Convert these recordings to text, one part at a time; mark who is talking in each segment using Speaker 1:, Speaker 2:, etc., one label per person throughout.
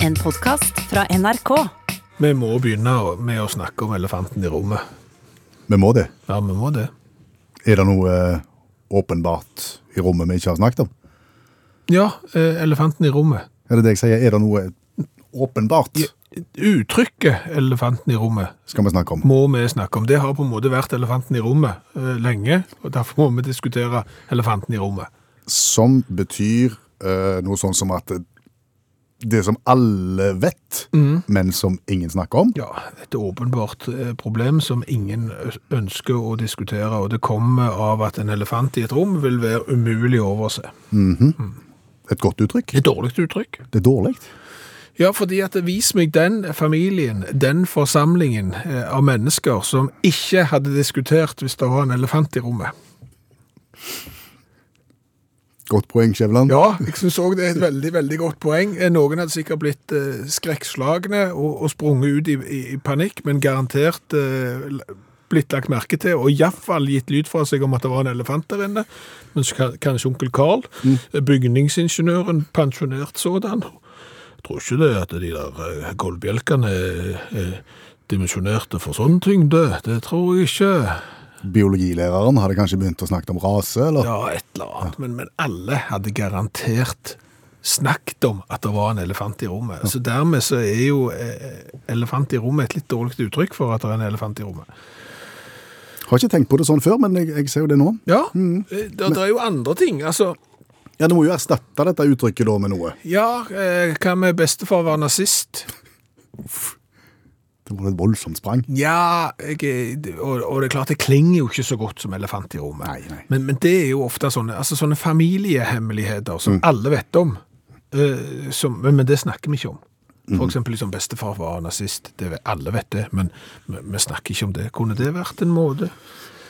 Speaker 1: En podkast fra NRK.
Speaker 2: Vi må begynne å- med å snakke om elefanten i rommet.
Speaker 3: Vi må det.
Speaker 2: Ja, vi må det.
Speaker 3: Er det noe eh, åpenbart i rommet vi ikke har snakket om?
Speaker 2: Ja, eh, elefanten i rommet.
Speaker 3: Er det det jeg sier? Er det noe eh, åpenbart
Speaker 2: Uttrykket 'elefanten i rommet'
Speaker 3: skal vi snakke om?
Speaker 2: må vi snakke om. Det har på en måte vært elefanten i rommet eh, lenge, og derfor må vi diskutere elefanten i rommet.
Speaker 3: Som betyr eh, noe sånn som at det som alle vet, men som ingen snakker om.
Speaker 2: Mhm. Ja, et åpenbart eh, problem som ingen ø- ønsker å diskutere, og det kommer av at en elefant i et rom vil være umulig å overse.
Speaker 3: Et godt uttrykk.
Speaker 2: Et dårlig uttrykk.
Speaker 3: Det er dårlig.
Speaker 2: Ja, fordi at vis meg den familien, den forsamlingen eh, av mennesker som ikke hadde diskutert hvis det var en elefant i rommet.
Speaker 3: Godt poeng, Skjæveland.
Speaker 2: Ja, jeg synes også det er et veldig, veldig godt poeng. Eh, Noen hadde sikkert blitt eh, skrekkslagne og, og sprunget ut i, i, i panikk, men garantert eh, l- blitt lagt merke til, og i hvert fall gitt lyd fra seg om at det var en elefant der inne. Men så kan- kanskje onkel Karl, eh, bygningsingeniøren, pensjonert sådan. Jeg tror ikke det at de der eh, gulvbjelkene er er dimensjonerte for sånn tyngde. Det tror jeg ikke.
Speaker 3: Biologilæreren hadde kanskje begynt å snakke om rase, eller?
Speaker 2: Ja, et eller annet. Men, men alle hadde garantert snakket om at det var en elefant i rommet. Så dermed så er jo eh, elefant i rommet et litt dårlig uttrykk for at det er en elefant i rommet.
Speaker 3: Har ikke tenkt på det sånn før, men jeg, jeg ser jo det nå.
Speaker 2: Ja, eh, det, det er jo andre ting. Altså,
Speaker 3: Ja, Du må jo erstatte dette uttrykket da med noe.
Speaker 2: ja, eh, hva med bestefar var nazist?
Speaker 3: Det var et voldsomt sprang.
Speaker 2: Ja, jeg, er- og, og det er klart det klinger jo ikke så godt som elefant i rommet.
Speaker 3: Nei, nei.
Speaker 2: Men, men det er jo ofte sånne, altså sånne familiehemmeligheter som
Speaker 3: Mm.
Speaker 2: alle vet om, eh, som, men, men det snakker vi ikke om.
Speaker 3: Mm.
Speaker 2: For eksempel liksom bestefar var nazist, det, vet- alle vet det, men vi vi snakker ikke om det. Kunne det vært en måte?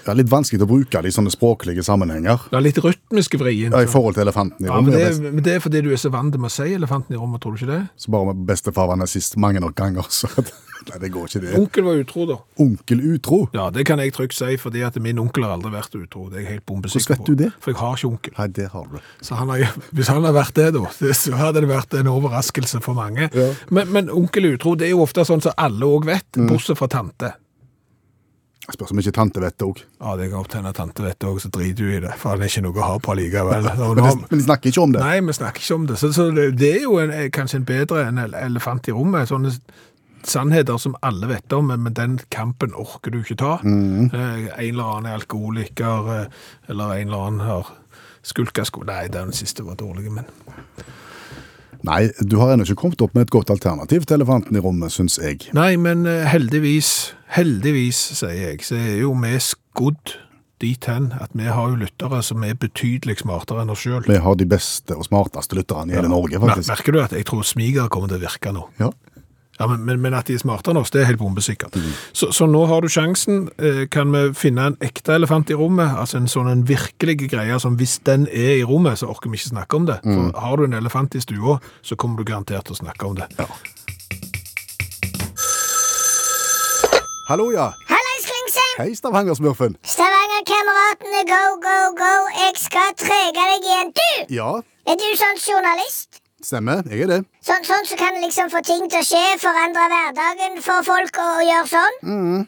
Speaker 3: Det er litt vanskelig å bruke det i sånne språklige sammenhenger.
Speaker 2: Det er litt rytmiske vrien.
Speaker 3: Ja, I forhold til elefanten i
Speaker 2: Ja, men
Speaker 3: rommet.
Speaker 2: det,
Speaker 3: best-
Speaker 2: men det er fordi du er så vant til å si elefanten i rommet, tror du ikke det?
Speaker 3: Så bare med bestefar var nazist mange nok ganger, så at, Nei, det går ikke det.
Speaker 2: Onkel var utro da.
Speaker 3: Onkel utro?
Speaker 2: Ja, det kan jeg trygt si, fordi at min onkel har aldri vært utro. Det er jeg helt bombesikker på.
Speaker 3: Hvordan vet du det?
Speaker 2: For jeg har ikke onkel.
Speaker 3: Nei, det har du.
Speaker 2: Så han har, hvis han hadde vært det, da, så hadde det vært en overraskelse for mange.
Speaker 3: Ja. Mm.
Speaker 2: Men, men onkel utro det er jo ofte sånn som alle òg vet, bortsett fra tante.
Speaker 3: Jeg spør om ikke tante vet det òg.
Speaker 2: Ja, det kan godt hende tante vet det òg, så driter du i det. For han er ikke noe å ha på likevel. Og nå,
Speaker 3: Men, de- men de snakker ikke om det.
Speaker 2: nei, vi snakker ikke om det. Så, så det, det er jo en, eh, kanskje en bedre enn el- elefant i rommet. Sånne sannheter som alle vet om, men, men den kampen orker du ikke ta.
Speaker 3: Mm.
Speaker 2: Eh, en eller annen er alkoholiker, eh, eller en eller annen har skulka sko... Nei, den siste var dårlig, men
Speaker 3: Nei, du har ennå ikke kommet opp med et godt alternativ til elefanten i rommet, syns jeg.
Speaker 2: Nei, men eh, heldigvis, heldigvis, sier jeg, så er jo vi skodd dit hen at vi har jo lyttere som er betydelig smartere enn oss sjøl.
Speaker 3: Vi har de beste og smarteste lytterne i hele Norge, faktisk.
Speaker 2: Merker du at jeg tror smiger kommer til å virke nå?
Speaker 3: Ja.
Speaker 2: Ja, men, men, men at de er smartere enn oss, det er helt bombesikkert. Så, så nå har du sjansen. Eh, Kan vi finne en ekte elefant i rommet? Altså en sånn en virkelig greie som hvis den er i rommet, så orker vi ikke snakke om det. For har du en elefant i stua, så kommer du garantert til å snakke om det.
Speaker 3: Hallo, ja.
Speaker 4: Hallais, Klingsheim!
Speaker 3: Hei, Stavanger-smurfen.
Speaker 4: Stavanger-kameratene, go, go, go! Jeg skal trege deg igjen. Du!
Speaker 3: Ja,
Speaker 4: Er du sånn journalist?
Speaker 3: stemmer. Jeg er det.
Speaker 4: Sånn, sånn som kan liksom få ting til å skje, forandre hverdagen for folk og, og gjøre sånn?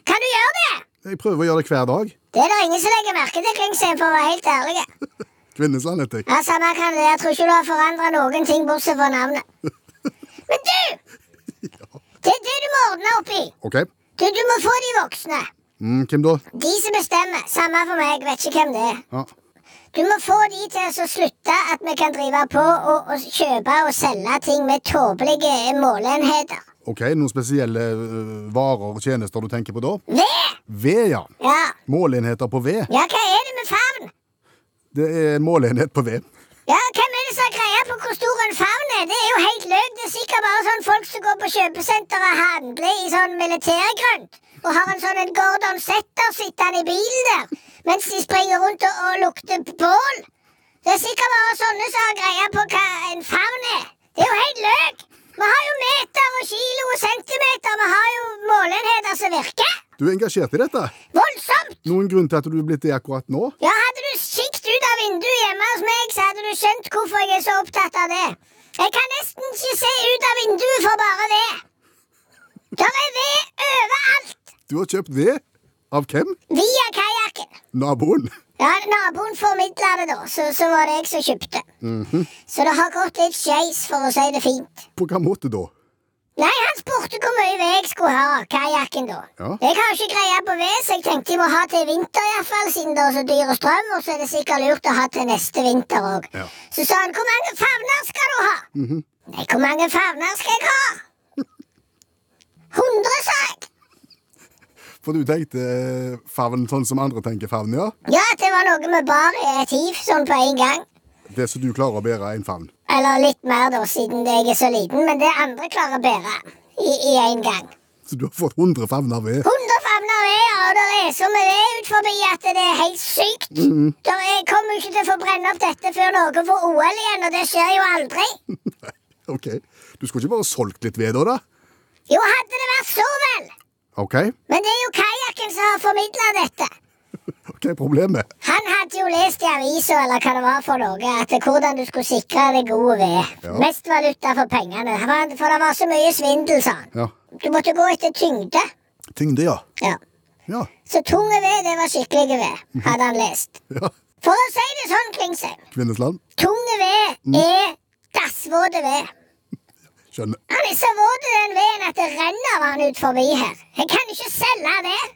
Speaker 4: Kan du gjøre det?
Speaker 3: Jeg prøver å gjøre det hver dag.
Speaker 4: Det er det ingen som legger merke til, Klingsheim, for å være helt ærlig.
Speaker 3: Kvinnesland heter jeg.
Speaker 4: Ja, Samme kan det, jeg tror ikke du har forandra noen ting bortsett fra navnet. Men du! Det er det du må ordne opp i.
Speaker 3: OK.
Speaker 4: Du, du må få de voksne.
Speaker 3: Mm, hvem da?
Speaker 4: De som bestemmer. Samme for meg, vet ikke hvem det er.
Speaker 3: Ja.
Speaker 4: Du må få de til å slutte at vi kan drive på og, og kjøpe og selge ting med tåpelige måleenheter.
Speaker 3: OK, noen spesielle øh, varer og tjenester du tenker på da?
Speaker 4: Ved!
Speaker 3: Ved, ja.
Speaker 4: Ja.
Speaker 3: Måleenheter på ved.
Speaker 4: ja, hva er det med favn?
Speaker 3: Det er en måleenhet på ved.
Speaker 4: Ja, Hvem er det som har greie på hvor stor en favn er? Det er jo helt løk. Det er sikkert bare sånn folk som går på kjøpesenter og handler i sånn militærgrønt. Og har en sånn en Gordon Setter sittende i bilen der mens de springer rundt og, og lukter bål. Det er sikkert bare sånne som har greie på hva en favn er. Det er jo helt løk! Vi har jo meter og kilo og centimeter. Vi har jo måleenheter som virker.
Speaker 3: Du er engasjert i dette.
Speaker 4: Voldsomt!
Speaker 3: Noen grunn til at du er blitt det akkurat nå?
Speaker 4: Ja, hadde du kikket ut av vinduet hjemme hos meg, så hadde du skjønt hvorfor jeg er så opptatt av det. Jeg kan nesten ikke se ut av vinduet for får bare ved. Der er ved overalt
Speaker 3: Du har kjøpt ved av hvem?
Speaker 4: via kajakken.
Speaker 3: Naboen.
Speaker 4: Ja, naboen formidla det, da, så, så var det jeg som kjøpte. Så det har gått litt skeis, for å si det fint.
Speaker 3: På hvilken måte da?
Speaker 4: Nei, han spurte hvor mye ved jeg skulle ha av kajakken, da.
Speaker 3: Ja.
Speaker 4: Jeg har ikke greie på ved, så jeg tenkte jeg må ha til i vinter, iallfall, siden det er så dyr strøm, og så er det sikkert lurt å ha til neste vinter òg.
Speaker 3: Ja. Mhm.
Speaker 4: Så sa han hvor mange favner skal du ha? Nei, hvor mange favner skal jeg ha? 100, sa jeg.
Speaker 3: For du tenkte eh, favn sånn som andre tenker favn, ja?
Speaker 4: Ja, at det var noe med bar i et hiv, sånn på en gang.
Speaker 3: Det som du klarer å bære en favn.
Speaker 4: Eller litt mer, da, siden jeg er så liten. Men det andre klarer å bære i i en gang.
Speaker 3: Så du har fått 100 favner ved.
Speaker 4: 100 favner ved, ja, E, og det er så mye ved ut forbi at det er helt sykt.
Speaker 3: Mhm.
Speaker 4: Der jeg kommer jo ikke til å få brenne opp dette før Norge får OL igjen, og det skjer jo aldri.
Speaker 3: Ok. Du skulle ikke bare solgt litt ved da, da?
Speaker 4: Jo, hadde det vært så vel!
Speaker 3: Ok.
Speaker 4: Men det er jo kajakken som har formidla dette.
Speaker 3: Hva er problemet?
Speaker 4: Han hadde jo lest i avisa eller hva det var for noe, at hvordan du skulle sikre deg god ved.
Speaker 3: Ja.
Speaker 4: Mest valuta for pengene. Han- For det var så mye svindel, sa han.
Speaker 3: Ja.
Speaker 4: Du måtte gå etter tyngde.
Speaker 3: Tyngde, ja.
Speaker 4: Ja.
Speaker 3: Ja.
Speaker 4: Så tunge ved, det var skikkelige ved, hadde han lest.
Speaker 3: ja.
Speaker 4: For å si det sånn, Klingsheim.
Speaker 3: Kvinnesland.
Speaker 4: Tunge ved er dassvåte ved.
Speaker 3: Skjønner.
Speaker 4: Han er så våt i den veden at det renner av han ut forbi her. Jeg kan ikke selge ved.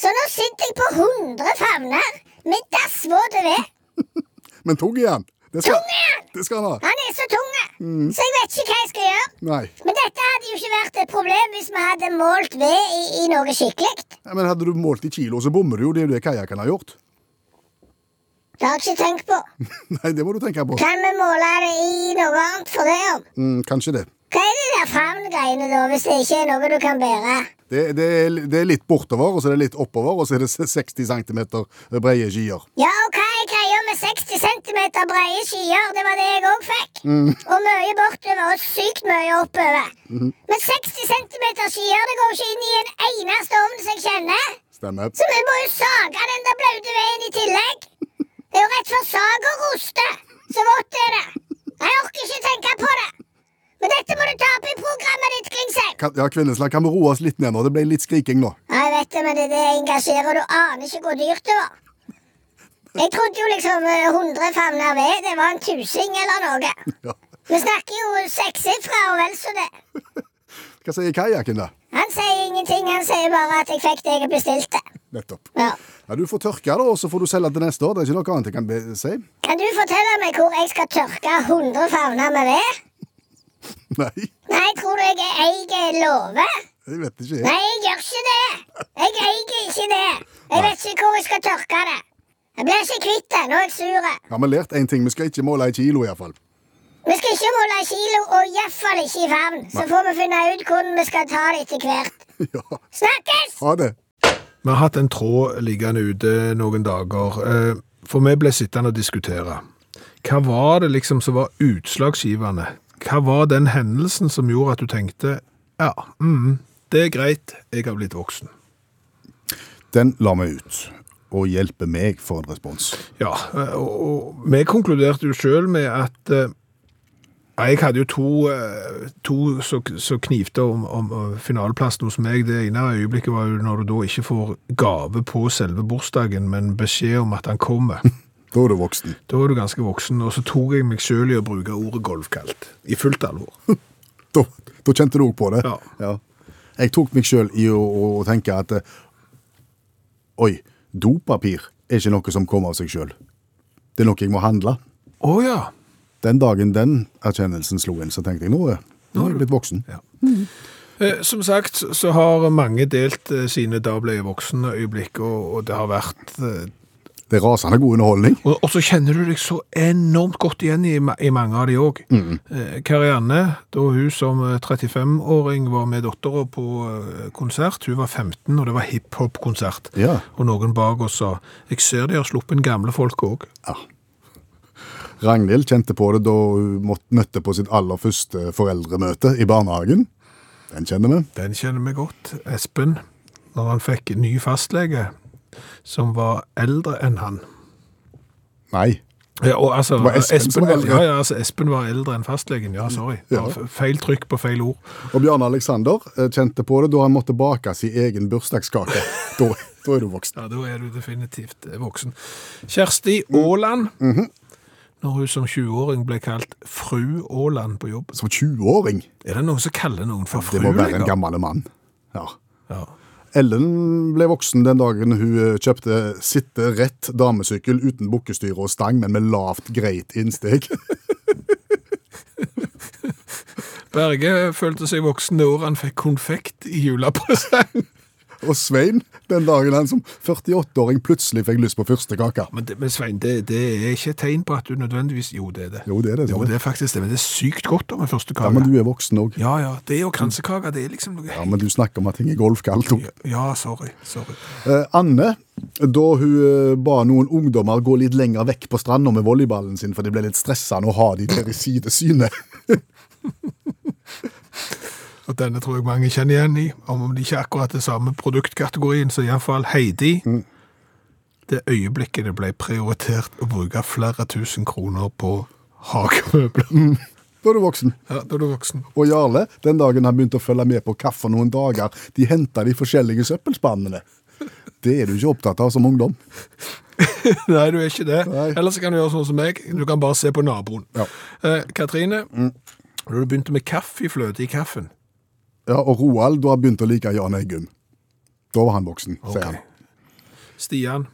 Speaker 4: Så nå sitter jeg på 100 favner med dassvåte ved.
Speaker 3: Men tung igjen. Det skal,
Speaker 4: Tung er han!
Speaker 3: det skal han ha.
Speaker 4: Han er så tung, så jeg vet ikke hva jeg skal gjøre.
Speaker 3: Nei.
Speaker 4: Men dette hadde jo ikke vært et problem hvis vi hadde målt ved i, i noe skikkelig.
Speaker 3: Ja, Men hadde du målt i kilo, så bommer du jo. Det er jo det kajakken har gjort.
Speaker 4: Det har jeg ikke tenkt på.
Speaker 3: Nei, det må du tenke på.
Speaker 4: Kan vi måle det i noe annet for det om?
Speaker 3: Mm, kanskje det.
Speaker 4: Hva er de der favngreiene, da, hvis det ikke er noe du kan bære?
Speaker 3: Det, det, er, det er litt bortover, og så er det litt oppover, og så er det 60 cm brede skier.
Speaker 4: Ja, og hva er greia med 60 cm brede skier? Det var det jeg òg fikk. Og mye bortover, og sykt mye oppover. Men 60 cm skier, det går ikke inn i en eneste ovn som jeg kjenner.
Speaker 3: Stemmer.
Speaker 4: Så vi må jo sage den der blaute veien i tillegg. Det er jo rett for sag og roste. Så vått er det. Jeg orker ikke tenke på det. Men dette må du ta opp i programmet ditt, Klingsheim.
Speaker 3: Kan, ja, Kvinnesland, kan vi roe oss litt ned nå? Det ble litt skriking nå.
Speaker 4: Ja, jeg vet det, men det, det engasjerer. Du aner ikke hvor dyrt det var. Jeg trodde jo liksom eh, 100 favner ved, det var en tusing eller noe.
Speaker 3: Ja.
Speaker 4: Vi snakker jo sekssifra og vel så det.
Speaker 3: Hva sier kajakken, da?
Speaker 4: Han sier ingenting, han sier bare at jeg fikk det jeg bestilte.
Speaker 3: Nettopp.
Speaker 4: Ja.
Speaker 3: Ja, Du får tørke, da, og så får du selge til neste år. Det er ikke noe annet jeg kan be si.
Speaker 4: Kan du fortelle meg hvor jeg skal tørke 100 favner med ved?
Speaker 3: Nei,
Speaker 4: Nei, tror du jeg eier låve?
Speaker 3: jeg vet ikke. jeg.
Speaker 4: Nei, jeg gjør ikke det. Jeg eier ikke det. Jeg vet ikke hvor jeg skal tørke det. Jeg blir ikke kvitt det. Nå er jeg sur.
Speaker 3: Har vi lært én ting? Vi skal ikke måle i kilo, iallfall.
Speaker 4: Vi skal ikke måle i kilo, og iallfall ikke i favn. Så får vi finne ut hvordan vi skal ta det etter hvert.
Speaker 3: Ja,
Speaker 4: Snakkes!
Speaker 3: ha det.
Speaker 2: Vi har hatt en tråd liggende ute noen dager, eh, for vi ble sittende og diskutere. Hva var det liksom som var utslagsgivende? Hva var den hendelsen som gjorde at du tenkte, ja, mm, det er greit, jeg har blitt voksen.
Speaker 3: Den la vi ut, og hjelper meg for en respons.
Speaker 2: Ja, eh, og, og vi konkluderte jo selv med at eh, ja, jeg hadde jo to, eh, to som som knivte om, om eh, finaleplassen hos meg. Det ene øyeblikket var jo når du da ikke får gave på selve bursdagen, men beskjed om at han kommer.
Speaker 3: Da er du voksen.
Speaker 2: Da var du ganske voksen, og så tok jeg meg selv i å bruke ordet golfkaldt. I fullt alvor.
Speaker 3: Da, da kjente du òg på det?
Speaker 2: Ja.
Speaker 3: Jeg tok meg sjøl i å, å, å tenke at eh, Oi, dopapir er ikke noe som kommer av seg sjøl. Det er noe jeg må handle.
Speaker 2: Å ja.
Speaker 3: Den dagen den erkjennelsen slo inn, så tenkte jeg nå er nå er jeg blitt voksen.
Speaker 2: Ja. Eh, Som sagt så har mange delt eh, sine da ble jeg voksen øyeblikk, og, og det har vært eh,
Speaker 3: Det er rasende god underholdning.
Speaker 2: og, og så kjenner du deg så enormt godt igjen i, ma- i mange av de òg. Eh, Karianne, da hun som eh, 35-åring var med dattera på eh, konsert, hun var 15, og det var hiphop-konsert.
Speaker 3: Ja.
Speaker 2: Og noen bak oss sa 'Jeg ser de har sluppet inn gamle folk òg'.
Speaker 3: Ragnhild kjente på det da hun måtte, møtte på sitt aller første foreldremøte i barnehagen. Den kjenner vi.
Speaker 2: Den kjenner vi godt. Espen, når han fikk ny fastlege som var eldre enn han.
Speaker 3: Nei.
Speaker 2: Ja, og altså,
Speaker 3: Det var Espen som var eldre.
Speaker 2: Ja, ja, altså, Espen var eldre enn fastlegen. Ja, sorry.
Speaker 3: Ja.
Speaker 2: F- Feil trykk på feil ord.
Speaker 3: Og Bjarne Alexander eh, kjente på det da han måtte bake sin egen bursdagskake. da, da er du voksen.
Speaker 2: Ja, Da er du definitivt eh, voksen. Kjersti
Speaker 3: Mm.
Speaker 2: Aaland.
Speaker 3: Mhm.
Speaker 2: Når hun som 20-åring ble kalt fru Aaland på jobb.
Speaker 3: Som 20-åring.
Speaker 2: Er det noen som kaller noen for fru
Speaker 3: Det må være en
Speaker 2: lenger?
Speaker 3: gammel mann. Ja.
Speaker 2: Ja.
Speaker 3: Ellen ble voksen den dagen hun eh, kjøpte sitte rett damesykkel uten bukkestyre og stang, men med lavt, greit innsteg.
Speaker 2: Berge følte seg voksen det året han fikk konfekt i julepresang.
Speaker 3: Og Svein den dagen han som 48-åring plutselig fikk lyst på fyrstekake.
Speaker 2: Men, det, men Svein, det, det er ikke et tegn på at du nødvendigvis Jo, det er det.
Speaker 3: Jo, det er det.
Speaker 2: Jo,
Speaker 3: det.
Speaker 2: det er faktisk det, men det er sykt godt om en første
Speaker 3: Ja,
Speaker 2: kake.
Speaker 3: men du er voksen òg.
Speaker 2: Ja, ja. Det og kransekake, det er liksom noe
Speaker 3: Ja, men du snakker om at ting er golfkaldt òg.
Speaker 2: Ja, sorry. sorry.
Speaker 3: Eh, Anne, da hun eh, ba noen ungdommer gå litt lenger vekk på stranda med volleyballen sin, for det ble litt stressende å ha de der i sidesynet.
Speaker 2: Og denne tror jeg mange kjenner igjen i, om det ikke er akkurat det samme produktkategorien, så iallfall Heidi.
Speaker 3: Mm.
Speaker 2: Det øyeblikket det ble prioritert å bruke flere tusen kroner på hagemøbler.
Speaker 3: Mm. Da er du voksen.
Speaker 2: Ja, da er du voksen.
Speaker 3: Og Jarle, den dagen han begynte å følge med på kaffe noen dager, de henta de forskjellige søppelspannene. Det er du ikke opptatt av som ungdom.
Speaker 2: Nei, du er ikke det.
Speaker 3: Nei.
Speaker 2: Ellers så kan du gjøre sånn som meg, du kan bare se på naboen.
Speaker 3: Ja.
Speaker 2: Eh, Katrine, da du begynte med kaffefløte i kaffen
Speaker 3: Ja, Og Roald, du har begynt å like Jan Eggum. Da var han voksen,
Speaker 2: Ok.
Speaker 3: sier han.
Speaker 2: Stian.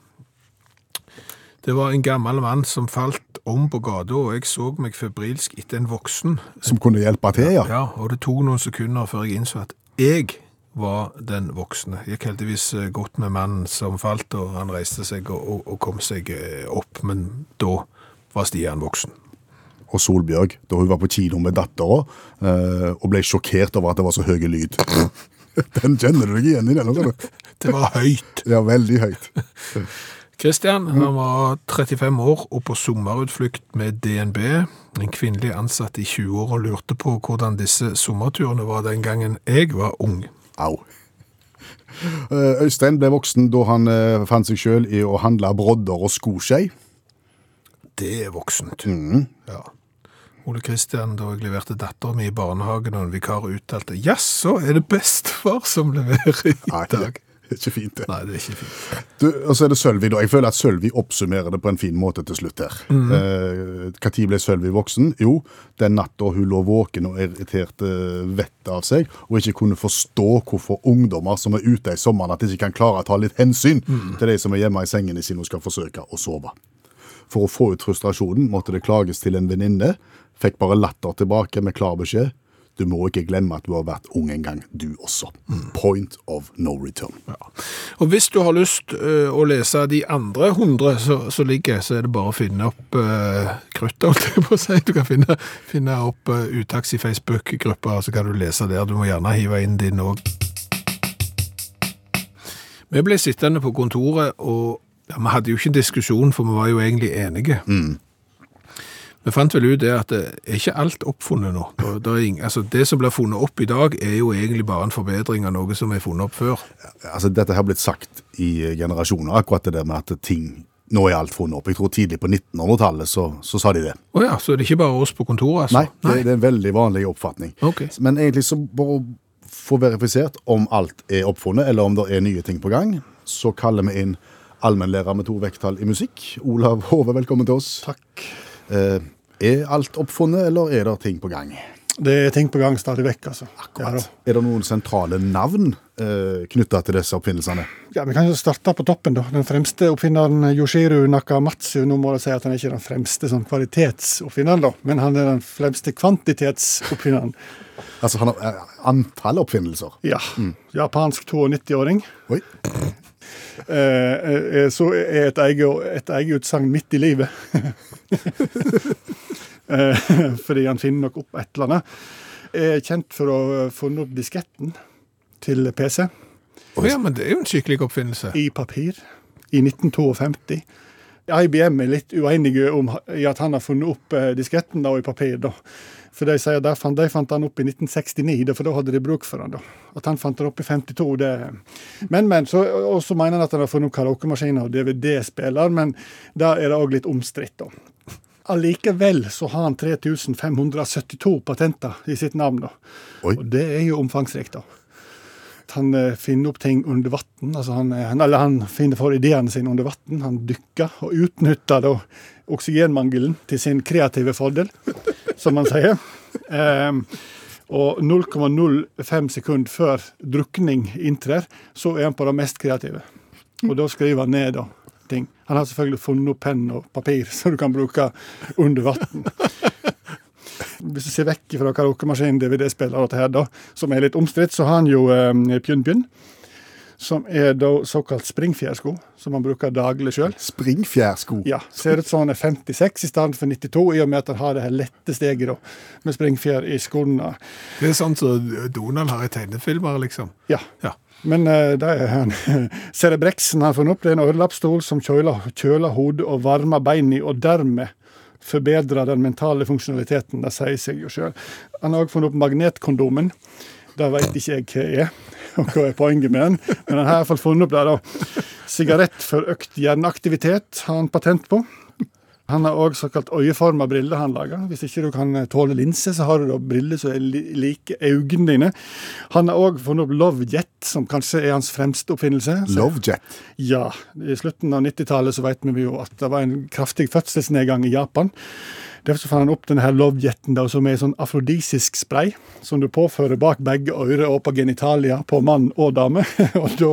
Speaker 2: Det var en gammel mann som falt om på gata, og jeg så meg febrilsk etter en voksen.
Speaker 3: Som kunne hjelpe til, ja.
Speaker 2: Ja, og det tok noen sekunder før jeg innså at jeg var den voksne. Jeg gikk heldigvis eh, godt med mannen som falt, og han reiste seg og, og, og kom seg eh, opp, men da var Stian voksen.
Speaker 3: Og Solbjørg, da hun var på kino med dattera eh, og ble sjokkert over at det var så høy lyd. Den kjenner du deg igjen i, den. altså.
Speaker 2: Det var høyt.
Speaker 3: Ja, veldig høyt.
Speaker 2: Kristian han var 35 år og på sommerutflukt med DNB. En kvinnelig ansatt i 20-åra lurte på hvordan disse sommerturene var den gangen jeg var ung.
Speaker 3: Au. Eh, Øystein ble voksen da han eh, fant seg sjøl i å handle brodder og skoskei.
Speaker 2: Det er voksent. Ja. Ole Kristian, da jeg leverte datteren min i barnehagen og en vikar uttalte Jaså, er det bestefar som leverer i
Speaker 3: Nei,
Speaker 2: dag?
Speaker 3: det er ikke fint, det.
Speaker 2: Nei, det er ikke fint.
Speaker 3: Du, og så er det Sølvi, da. Jeg føler at Sølvi oppsummerer det på en fin måte til slutt her. Når ble Sølvi voksen? Jo, den natta hun lå våken og irriterte vettet av seg, og ikke kunne forstå hvorfor ungdommer som er ute i sommeren, at de ikke kan klare å ta litt hensyn til de som er hjemme i sengene sine og skal forsøke å sove. For å få ut frustrasjonen måtte det klages til en venninne. Fikk bare latter tilbake med klar beskjed. Du må ikke glemme at du har vært ung en gang, du også. Point of no return.
Speaker 2: Og hvis du har lyst ø, å lese de andre hundre som som ligger, så er det bare å finne opp uh, kruttet, holdt jeg på å si. Du kan finne, finne opp uh, Utaks i Facebook-gruppa, så kan du lese der. Du må gjerne hive inn din òg. Vi ble sittende på kontoret, og ja, vi hadde jo ikke en diskusjon, for vi var jo egentlig enige. Vi fant vel ut det at det er ikke alt oppfunnet nå. Det, det, er ing- altså, det som blir funnet opp i dag, er jo egentlig bare en forbedring av noe som er funnet opp før.
Speaker 3: altså, dette har blitt sagt i generasjoner, akkurat det der med at ting Nå er alt funnet opp. Jeg tror tidlig på 1900-tallet så, så sa de det.
Speaker 2: Å ja, så det er ikke bare oss på kontoret, altså?
Speaker 3: Nei, det, det er en veldig vanlig oppfatning.
Speaker 2: Ok.
Speaker 3: Men egentlig så bare få verifisert om alt er oppfunnet, eller om det er nye ting på gang, så kaller vi inn allmennlærer med to vekttall i musikk. Olav Hove, velkommen til oss. Takk. Eh, er alt oppfunnet, eller er det ting på gang?
Speaker 5: Det er ting på gang stadig vekk, altså. Ja, da.
Speaker 3: Er det noen sentrale navn eh, knytta til disse oppfinnelsene?
Speaker 5: Ja, Vi kan jo starte på toppen, da. Den fremste oppfinneren Yoshiru Nakamatsu. Nå må jeg si at han er ikke den fremste sånn kvalitetsoppfinneren, da, men han er den fremste kvantitetsoppfinneren.
Speaker 3: Altså han har, eh, antall oppfinnelser?
Speaker 5: Ja. Japansk 92-åring.
Speaker 3: Oi.
Speaker 5: Eh, eh, så er et eget, et eget utsagn midt i livet. eh, fordi han finner nok opp et eller annet. Er kjent for å ha funnet opp disketten til PC
Speaker 2: Å ja, men det er jo en skikkelig oppfinnelse.
Speaker 5: i papir i 1952. IBM er litt uenige om, i at han har funnet opp eh, disketten da, i papir. da. For de sier der fant, de fant han opp i 1969, da, for da hadde de bruk for han da. At han fant han opp i 52, det Men, men. Så, og så mener han at han har funnet opp karaokemaskiner og DVD-spiller, men der er det òg litt omstridt, da. Allikevel så har han 3572 patenter i sitt navn, da.
Speaker 3: Oi.
Speaker 5: Og det er jo omfangsrikt, da. At Han eh, finner opp ting under vann. Altså han, eh, han- eller han finner for ideene sine under vann. Han dykker og utnytter da oksygenmangelen til sin kreative fordel, som han sier. Ehm, og 0,05 sekunder før drukning inntrer, så er han på det mest kreative. Og da skriver han ned da, ting. Han har selvfølgelig funnet opp penn og papir som du kan bruke under vann. Hvis du ser vekk fra karaokemaskinen, DVD-spiller og dette her, da, som er litt omstridt, så har han jo eh, Pjunpjun, som er da såkalt springfjærsko, som han bruker daglig sjøl.
Speaker 3: Springfjærsko.
Speaker 5: Ja, ser ut som han er 56 i stedet for 92, i og med at han har det her lette steget da, med springfjær i skoene.
Speaker 2: Det er sånn som Donald har i tegnefilmer, liksom.
Speaker 5: Ja.
Speaker 2: Ja.
Speaker 5: Men eh, det er han. Cerebrexen har funnet opp. Det er en ørelappstol som kjøler, kjøler hodet og varmer beina, og dermed forbedrer den mentale funksjonaliteten. Det sier seg jo sjøl. Han har òg funnet opp magnetkondomen. Det veit ikke jeg hva er, og hva er poenget med den, men han har iallfall funnet opp det. da. Sigarett for økt hjerneaktivitet har han patent på. Han har òg såkalt øyeforma briller han lager. Hvis ikke du kan eh, tåle linse, så har du da briller som er li- like øynene dine. Han har òg funnet opp Lovejet, som kanskje er hans fremste oppfinnelse. Så-
Speaker 3: Lovejet.
Speaker 5: ja, i slutten av 90-tallet så vet vi jo at det var en kraftig fødselsnedgang i Japan. Derfor så fant han opp denne her lovjetten da, som er en sånn afrodisisk spray som du påfører bak begge ører og på genitalia på mann og dame. Og da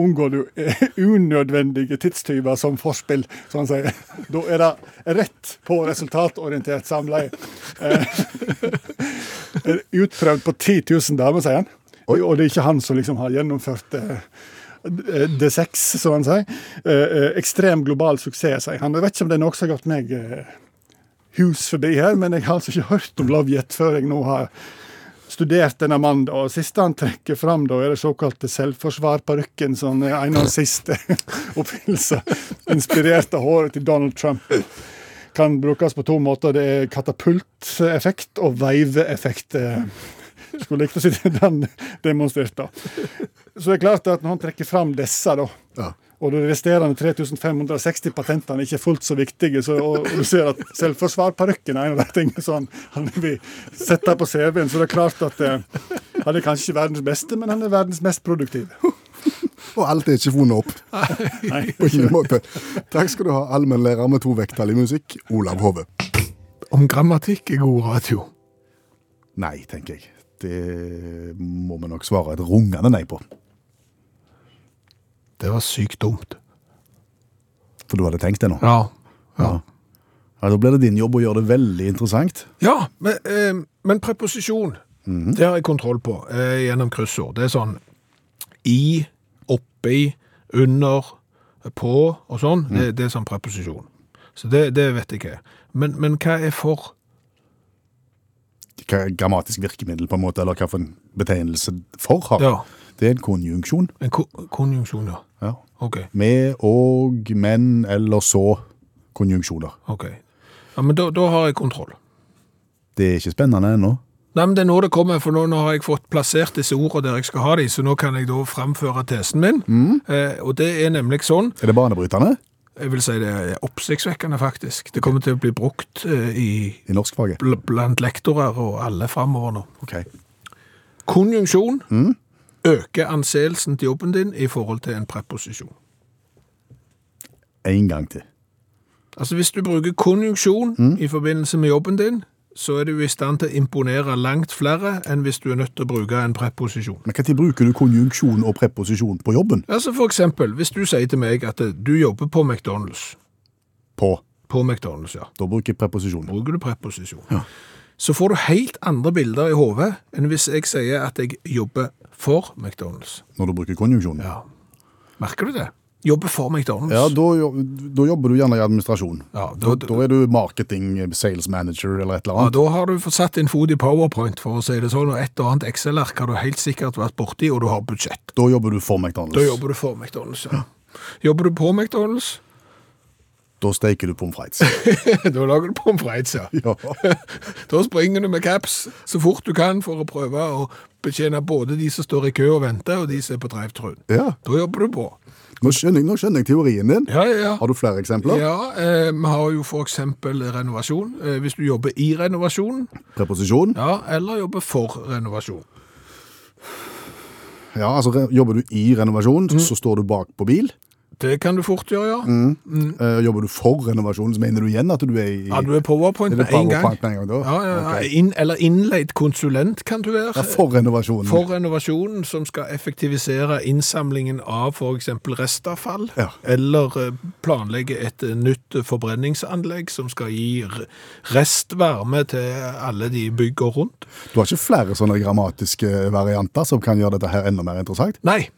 Speaker 5: unngår du eh, unødvendige tidstyver som forspill, som han sier. Da er det rett på resultatorientert samleie. Eh, Utprøvd på 10 000 damer, sier han. Og det er ikke han som liksom har gjennomført eh, D6, eh, som han sier. Eh, eh, Ekstrem global suksess, sier han. Jeg vet ikke om det er noe som har gått meg eh, hus forbi her, men jeg har altså ikke hørt om Lovejet før jeg nå har studert denne mannen. da. Og siste han trekker fram, da, er det såkalte selvforsvarparykken, som er en av hans siste oppfinnelser, inspirert av håret til Donald Trump. Kan brukes på to måter. Det er katapulteffekt og veiveeffekt. eh. Skulle likt å se den demonstrert, da. Så det er klart at når han trekker fram disse, da,
Speaker 3: Ja.
Speaker 5: og de resterende 3560 patentene ikke er fullt så viktige, så, og, og du ser at selvforsvarparykken er en av de tingene som han, han vil sette på CV-en, så det er klart at eh, han er kanskje ikke verdens beste, men han er verdens mest produktive.
Speaker 3: Og alt er ikke funnet opp. På ingen måte. Takk skal du ha, allmennlærer med to vekttall i musikk, Olav Hove.
Speaker 2: Om grammatikk er god radio.
Speaker 3: Nei, tenker jeg. Det må vi nok svare et rungende nei på.
Speaker 2: Det var sykt dumt.
Speaker 3: For du hadde tenkt det nå.
Speaker 2: Ja. Ja,
Speaker 3: Ja, Da blir det din jobb å gjøre det veldig interessant.
Speaker 2: ja men, eh, men preposisjon, det har jeg kontroll på eh, gjennom kryssord. Det er sånn i, oppi, under, på og sånn. Det, det er sånn preposisjon. Så det, det vet jeg hva er. Men, men hva er for?
Speaker 3: Hva er grammatisk virkemiddel, på en måte, eller hvilken betegnelse for har.
Speaker 2: Ja,
Speaker 3: Det er en konjunksjon.
Speaker 2: en ko konjunksjon, ja.
Speaker 3: Ja.
Speaker 2: Ok,
Speaker 3: Med og, men eller så konjunksjoner.
Speaker 2: ok. Ja, men da, da har jeg kontroll.
Speaker 3: Det er ikke spennende ennå.
Speaker 2: Nei, men det er nå det kommer, for nå, nå har jeg fått plassert disse ordene der jeg skal ha dem, så nå kan jeg da framføre tesen min. Eh, og det er nemlig sånn,
Speaker 3: Er det banebrytende
Speaker 2: jeg vil si det er oppsiktsvekkende faktisk. Det kommer til å bli brukt eh, i,
Speaker 3: i norskfaget?
Speaker 2: bl blant lektorer og alle framover nå.
Speaker 3: Ok.
Speaker 2: Konjunksjon øker anseelsen til jobben din i forhold til en preposisjon.
Speaker 3: En gang til.
Speaker 2: Altså hvis du bruker konjunksjon i forbindelse med jobben din, så er du i stand til å imponere langt flere enn hvis du er nødt til å bruke en preposisjon.
Speaker 3: Men Når bruker du konjunksjon og preposisjon på jobben?
Speaker 2: Altså for eksempel, hvis du sier til meg at eh, du jobber på McDonalds,
Speaker 3: På.
Speaker 2: på McDonalds, ja,
Speaker 3: Da bruker jeg preposisjon.
Speaker 2: bruker du preposisjon, så får du helt andre bilder i hovedet enn hvis jeg sier at jeg jobber for McDonalds.
Speaker 3: Når du bruker konjunksjon.
Speaker 2: Ja. Merker du det? Jobber for McDonalds.
Speaker 3: Ja, da, jo- da jobber du gjerne i administrasjon.
Speaker 2: Ja,
Speaker 3: Da,
Speaker 2: da,
Speaker 3: da er du marketing, sales manager eller et eller
Speaker 2: ja,
Speaker 3: annet.
Speaker 2: da har du fått satt din fot i PowerPoint, for å si det sånn, og et og annet Excel-ark har du helt sikkert vært borti, og du har budsjett.
Speaker 3: Da jobber du for McDonald's.
Speaker 2: Da jobber du for McDonalds, ja. Jobber du på McDonalds,
Speaker 3: Da steker du pommes frites.
Speaker 2: da lager du pommes frites, ja.
Speaker 3: Ja.
Speaker 2: Da springer du med caps så fort du kan for å prøve å betjene både de som står i kø og venter, og de som er på drive-thruen.
Speaker 3: ja.
Speaker 2: Da jobber du på.
Speaker 3: Nå, skjønner jeg, nå skjønner jeg teorien din.
Speaker 2: Ja, ja, ja.
Speaker 3: Har du flere eksempler?
Speaker 2: Ja, eh, Vi har jo f.eks. renovasjon. Eh, hvis du jobber i renovasjon,
Speaker 3: Preposisjon? Ja.
Speaker 2: ja, eller jobber for renovasjon.
Speaker 3: altså re- Jobber du i renovasjon,
Speaker 2: Mm.
Speaker 3: så står du bak på bil.
Speaker 2: Det kan du fort gjøre, ja.
Speaker 3: Eh, jobber du for renovasjon, så mener du igjen at du er i
Speaker 2: Mm. Ja, du er powerpoint
Speaker 3: Er
Speaker 2: med
Speaker 3: det
Speaker 2: en gang.
Speaker 3: PowerPoint med en gang da?
Speaker 2: Ja, ja, ja.
Speaker 3: Ok.
Speaker 2: Inn, eller innleid konsulent kan du være.
Speaker 3: Ja, for renovasjon.
Speaker 2: For renovasjonen som skal effektivisere innsamlingen av f.eks. restavfall,
Speaker 3: Ja.
Speaker 2: eller eh, planlegge et eh, nytt eh, forbrenningsanlegg som skal gi r- restvarme til alle de bygger rundt.
Speaker 3: Du har ikke flere sånne grammatiske varianter som kan gjøre dette her enda mer interessant?
Speaker 2: Nei,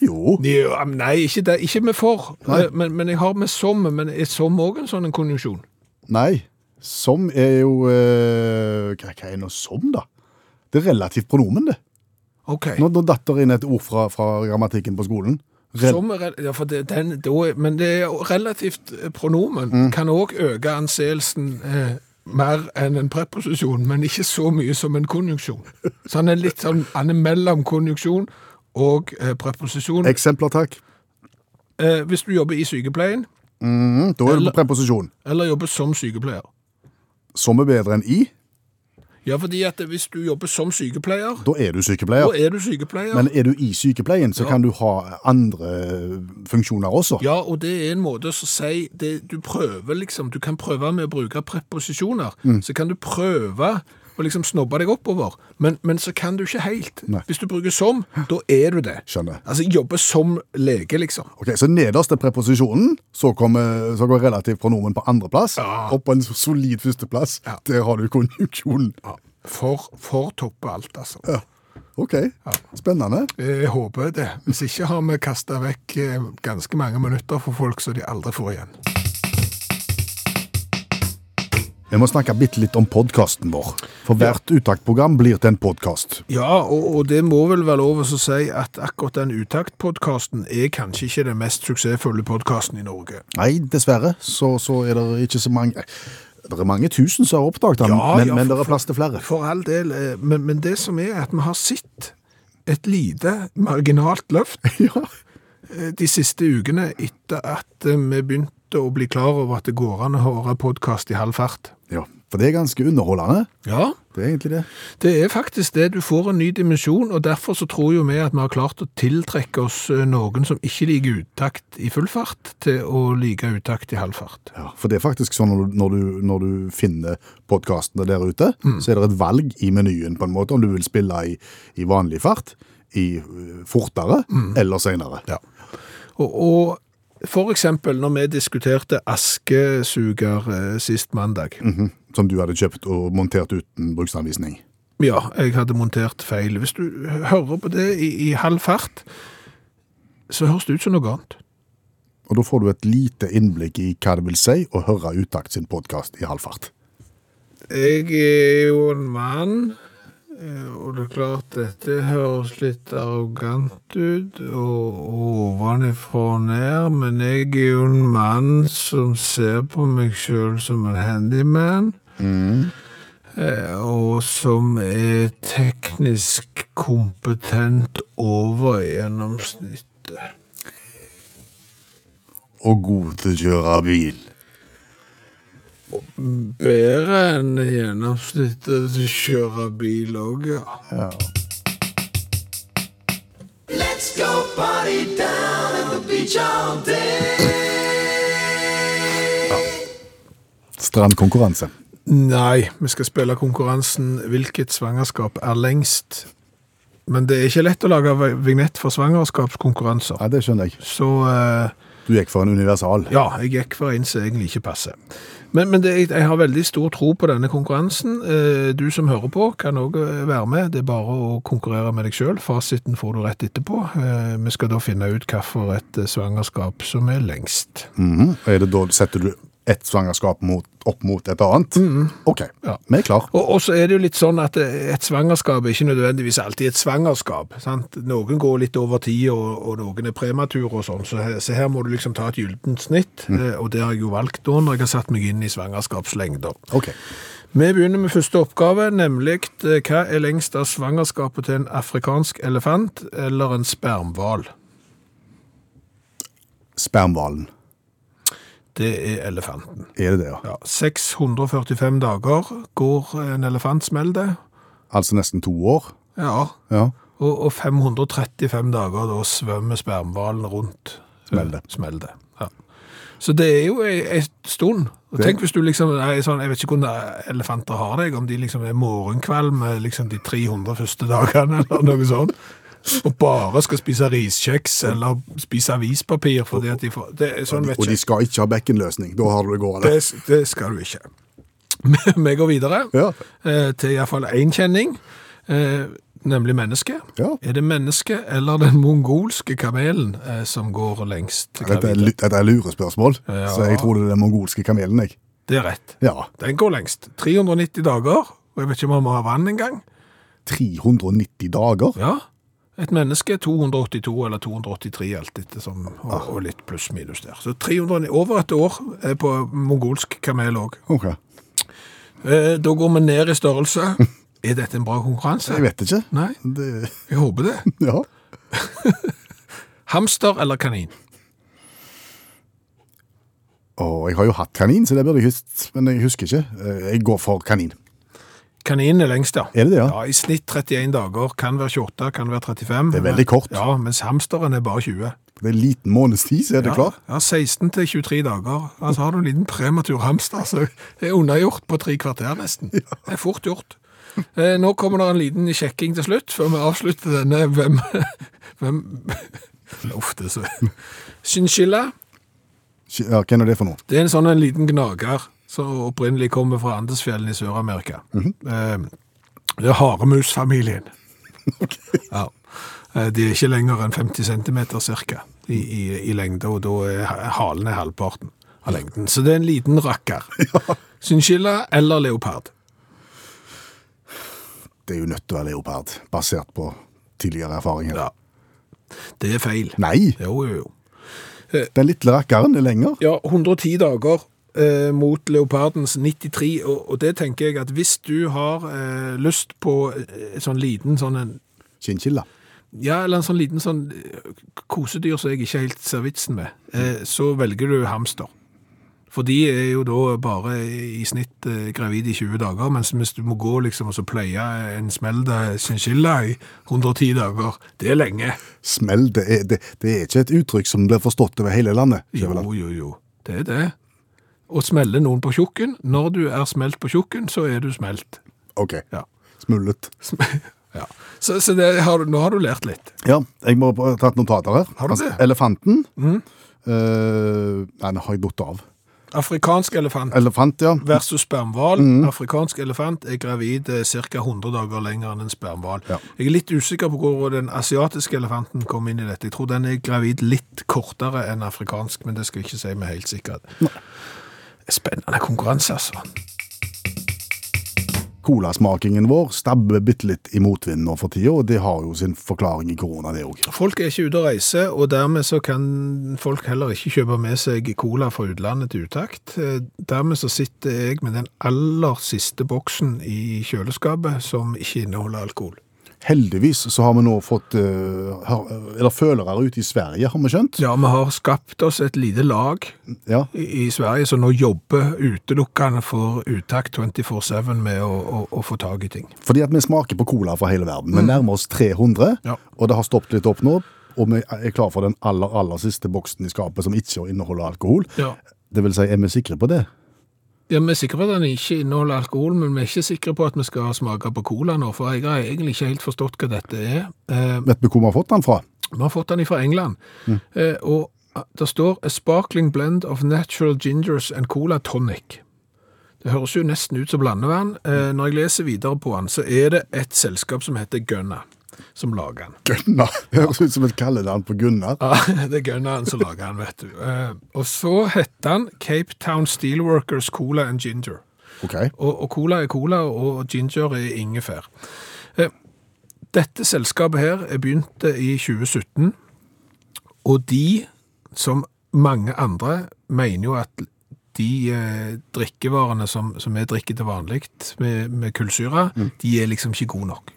Speaker 3: Jo.
Speaker 2: de, ja, men nei ikke, det, ikke med for, Eh, men, men jeg har med som, men er som òg en sånn en konjunksjon?
Speaker 3: Nei. Som er jo eh, Hva hva er nå som, da? Det er relativt pronomen, det.
Speaker 2: Ok.
Speaker 3: Nå, nå datt det inn et ord fra, fra grammatikken på skolen. Rel-
Speaker 2: Som er, rel- ja, for det, den, da er- men det er jo relativt eh, pronomen kan òg øke anseelsen eh, mer enn en preposisjon, men ikke så mye som en konjunksjon. Så han er litt sånn han er mellom konjunksjon og eh, preposisjon.
Speaker 3: Eksempler, takk.
Speaker 2: Eh, hvis du jobber i sykepleien,
Speaker 3: Mm, da er det
Speaker 2: Eller-
Speaker 3: på preposisjon.
Speaker 2: eller jobber som sykepleier.
Speaker 3: Som er bedre enn i.
Speaker 2: Ja, fordi at hvis du jobber som sykepleier,
Speaker 3: Da er du
Speaker 2: da
Speaker 3: sykepleier.
Speaker 2: er du sykepleier.
Speaker 3: Men er du i sykepleien, så
Speaker 2: Ja.
Speaker 3: kan du ha andre funksjoner også.
Speaker 2: Ja, og det er en måte å si det, Du prøver liksom, du kan prøve med å bruke preposisjoner.
Speaker 3: Mm.
Speaker 2: Så kan du prøve å liksom snobbe deg oppover, men, men så kan du ikke helt.
Speaker 3: Nei.
Speaker 2: Hvis du bruker som, da er du det.
Speaker 3: Skjønner.
Speaker 2: Altså jobbe som lege, liksom.
Speaker 3: Ok, Så nederst er preposisjonen, så, kommer, så går relativt pronomen på andreplass.
Speaker 2: Ja.
Speaker 3: Og på en solid førsteplass, der har du konjunksjonen.
Speaker 2: For, for toppe alt, altså.
Speaker 3: Ok, spennende.
Speaker 2: Jeg håper det. Hvis ikke har vi kasta vekk eh, ganske mange minutter for folk som de aldri får igjen.
Speaker 3: Jeg må snakke bitte litt om podkasten vår. For hvert uttaktprogram blir til en podkast.
Speaker 2: Ja, og, og det må vel være lov å si at akkurat den Utakt-podkasten er kanskje ikke den mest suksessfulle podkasten i Norge.
Speaker 3: Nei, dessverre, så, så er det ikke så mange Det er mange tusen som har oppdaget den,
Speaker 2: Ja,
Speaker 3: men,
Speaker 2: ja,
Speaker 3: men
Speaker 2: for-
Speaker 3: det er plass til flere.
Speaker 2: For all del, eh, men, men det som er at vi har sett et lite marginalt løft eh, de siste ukene etter at eh, vi begynte å bli klar over at det går an å høre podkast i halv fart.
Speaker 3: Ja, For det er ganske underholdende.
Speaker 2: Ja.
Speaker 3: Det er egentlig det.
Speaker 2: Det er faktisk det. Du får en ny dimensjon, og derfor så tror jo vi at vi har klart å tiltrekke oss eh, noen som ikke liker utakt i full fart, til å like utakt i halv fart.
Speaker 3: Ja, for det er faktisk sånn når du, når du, når du finner podkastene der ute, så er det et valg i menyen, på en måte, om du vil spille i, i vanlig fart, i øh, fortere eller senere.
Speaker 2: Ja. Og, og for eksempel når vi diskuterte askesuger eh, sist mandag.
Speaker 3: Mhm. Som du hadde kjøpt og montert uten bruksanvisning.
Speaker 2: Ja, jeg hadde montert feil. Hvis du hører på det i, i halv fart, så høres det ut som noe annet.
Speaker 3: Og da får du et lite innblikk i hva det vil si å høre Utakt sin podkast i halv fart.
Speaker 2: Jeg er jo en mann, eh, og det er klart dette høres litt arrogant ut, og ovenifra og ned, men jeg er jo en mann som ser på meg sjøl som en handyman. eh, Og som er teknisk kompetent over gjennomsnittet.
Speaker 3: Og god til å kjøre bil.
Speaker 2: Bedre enn gjennomsnittet til å kjøre bil òg, ja.
Speaker 6: Let's go party down at the beach all day.
Speaker 3: Strand konkurranse.
Speaker 2: Nei, vi skal spille konkurransen 'Hvilket svangerskap er lengst'. Men det er ikke lett å lage vi- vignett for svangerskapskonkurranser.
Speaker 3: Ja, det skjønner jeg.
Speaker 2: Så eh,
Speaker 3: Du gikk for en universal.
Speaker 2: ja, jeg gikk for en som egentlig ikke passer. Men, men det, jeg har veldig stor tro på denne konkurransen. Eh, Du som hører på kan òg være med. Det er bare å konkurrere med deg sjøl. Fasiten får du rett etterpå. Eh, Vi skal da finne ut hvilket eh, svangerskap som er lengst.
Speaker 3: Mhm. Og er det da setter du ett svangerskap mot opp mot et annet. OK,
Speaker 2: Ja.
Speaker 3: vi er klar.
Speaker 2: Og, og så er det jo litt sånn at eh, et svangerskap er ikke nødvendigvis alltid et svangerskap. Sant? Noen går litt over tid, og, og noen er premature og sånn, så, her- så her må du liksom ta et gyldent snitt. eh, Og det har jeg jo valgt da, når jeg har satt meg inn i svangerskapslengder.
Speaker 3: Ok.
Speaker 2: Vi begynner med første oppgave, nemlig eh, hva er lengst av svangerskapet til en afrikansk elefant eller en spermhval?
Speaker 3: Spermhvalen.
Speaker 2: Det er elefanten.
Speaker 3: Er det det, ja?
Speaker 2: Ja, 645 dager går en elefant, smell det.
Speaker 3: Altså nesten to år?
Speaker 2: Ja,
Speaker 3: Ja.
Speaker 2: Og, og 535 dager da svømmer spermhvalen rundt.
Speaker 3: Smelter.
Speaker 2: Smelter, ja. Så det er jo ei, ei stund. Og tenk hvis du liksom, nei, sånn, Jeg vet ikke hvordan elefanter har deg, om de liksom er morgenkvalme liksom de 300 første dagene eller noe sånt. Og bare skal spise riskjeks eller spise avispapir fordi at de får det, er- Sånn vet
Speaker 3: Og de
Speaker 2: jeg.
Speaker 3: skal ikke ha bekkenløsning. Da har du det gående.
Speaker 2: Det, det skal du ikke. Vi går videre
Speaker 3: Ja.
Speaker 2: eh, til iallfall én kjenning, eh, nemlig mennesket.
Speaker 3: Ja.
Speaker 2: Er det mennesket eller den mongolske kamelen eh, som går lengst?
Speaker 3: Dette er,
Speaker 2: gravid?
Speaker 3: lu- dette er lurespørsmål,
Speaker 2: Ja.
Speaker 3: så jeg tror det er den mongolske kamelen. jeg.
Speaker 2: Det er rett.
Speaker 3: Ja.
Speaker 2: Den går lengst. 390 dager, og jeg vet ikke om han må ha vann engang.
Speaker 3: 390 dager?
Speaker 2: Ja. Et menneske er 282 eller 283, alt etter som,
Speaker 3: Ah.
Speaker 2: og, og litt pluss-minus der. Så 300, over et år eh, på mongolsk kamel òg.
Speaker 3: Ok.
Speaker 2: Eh, da går vi ned i størrelse. Er dette en bra konkurranse?
Speaker 3: Jeg vet ikke.
Speaker 2: Nei,
Speaker 3: Det,
Speaker 2: jeg håper det.
Speaker 3: ja.
Speaker 2: Hamster eller kanin?
Speaker 3: Og jeg har jo hatt kanin, så det burde jeg husket, men jeg husker ikke. Eh, Jeg går for kanin.
Speaker 2: Kaninen er lengst, ja.
Speaker 3: Er det det, ja?
Speaker 2: Ja, I snitt 31 dager. Kan være 28, kan være 35.
Speaker 3: Det er veldig kort.
Speaker 2: Ja, Mens hamsteren er bare 20.
Speaker 3: Det er en liten måneds tid, så er det
Speaker 2: Ja,
Speaker 3: klar.
Speaker 2: ja, 16 til 23 dager. Altså Har du en liten prematur hamster, så det er unnagjort på tre kvarter nesten. Det er fort gjort. Eh, nå kommer det en liten sjekking til slutt, før vi avslutter denne hvem, hvem Uff, det er så Chinchilla.
Speaker 3: Ja, Hva er det for noe?
Speaker 2: Det er en sånn en liten gnager som opprinnelig kommer fra Andesfjellene i Sør-Amerika. Eh, Det er haremusfamilien. ja. Eh, De er ikke lenger enn 50 cm cirka i, i, i lengde, og da er ha- halen er halvparten av lengden. Så det er en liten rakker. Chinchilla eller leopard?
Speaker 3: Det er jo nødt til å være leopard, basert på tidligere erfaringer.
Speaker 2: Ja. Det er feil.
Speaker 3: Nei,
Speaker 2: Jo, jo, jo.
Speaker 3: den lille rakkeren er lenger.
Speaker 2: Ja, 110 dager eh, mot leopardens 93, og, og det tenker jeg at hvis du har eh, lyst på eh, sånn liten sånn en
Speaker 3: Chinchilla.
Speaker 2: Ja, eller en sånn liten sånn eh, kosedyr som jeg ikke helt ser vitsen med. Eh, så velger du hamster. For de er jo da bare i snitt eh, gravid i 20 dager, mens hvis du må gå liksom og så pleie en smelda chinchilla i 110 dager, det er lenge.
Speaker 3: Smell, det er, det, det er ikke et uttrykk som blir forstått over hele landet.
Speaker 2: Jo, jo, jo. Det er det. Å smelle noen på tjukken. Når du er smelt på tjukken, så er du smelt.
Speaker 3: Ok,
Speaker 2: Ja.
Speaker 3: smullet.
Speaker 2: Sm- ja. Så, så det har, du- nå har du lært litt.
Speaker 3: Ja, jeg må ha tatt notater her.
Speaker 2: Har du det? Mhm.
Speaker 3: Elefanten. Eh, nei, nå har jeg datt av.
Speaker 2: Afrikansk elefant.
Speaker 3: Elefant, ja.
Speaker 2: versus spermhval. Afrikansk elefant er gravid ca. 100 dager lenger enn en spermhval.
Speaker 3: Ja.
Speaker 2: Jeg er litt usikker på hvor den asiatiske elefanten kom inn i dette. Jeg tror den er gravid litt kortere enn afrikansk, men det skal jeg ikke si med helt sikkerhet. Spennende konkurranse, altså.
Speaker 3: Colasmakingen vår stabber bitte litt i motvind nå for tida, og det har jo sin forklaring i korona, det òg.
Speaker 2: Folk er ikke ute og reiser, og dermed så kan folk heller ikke kjøpe med seg cola fra utlandet til utakt. Eh, Dermed så sitter jeg med den aller siste boksen i kjøleskapet som ikke inneholder alkohol.
Speaker 3: Heldigvis så har vi nå fått eh, har, eller følere ute i Sverige, har vi skjønt?
Speaker 2: Ja, vi har skapt oss et lite lag
Speaker 3: Ja.
Speaker 2: i i Sverige som nå jobber utelukkende for Utakt 24-7 med å, å, å få tak i ting.
Speaker 3: Fordi at vi smaker på cola fra hele verden. Vi nærmer oss 300,
Speaker 2: Mm. Ja.
Speaker 3: og det har stoppet litt opp nå. Og vi er klar for den aller, aller siste boksen i skapet som ikke inneholder alkohol.
Speaker 2: Ja.
Speaker 3: Det vil si, er vi sikre på det?
Speaker 2: ja, Vi er sikre på at den ikke inneholder alkohol, men vi er ikke sikre på at vi skal smake på cola nå, for jeg har egentlig ikke helt forstått hva dette er. Eh,
Speaker 3: Vet vi hvor vi har fått den fra?
Speaker 2: vi har fått den fra England, eh, og det står A sparkling blend of natural gingers and cola tonic. Det høres jo nesten ut som blandevann. Eh, når jeg leser videre på den, så er det et selskap som heter Gunna, som lager den.
Speaker 3: Gunnar. Det høres ut som et kallenavn på Gunnar.
Speaker 2: Ja, det er gunneren som lager den, vet du. Eh, Og så heter han Cape Town Steelworkers Cola and Ginger.
Speaker 3: Ok.
Speaker 2: Og, og cola er cola, og ginger er ingefær. Eh, Dette selskapet her er begynte i 2017, og de, som mange andre, mener jo at de eh, drikkevarene som, som vi drikker til vanlig med, med kullsyre, de er liksom ikke gode nok.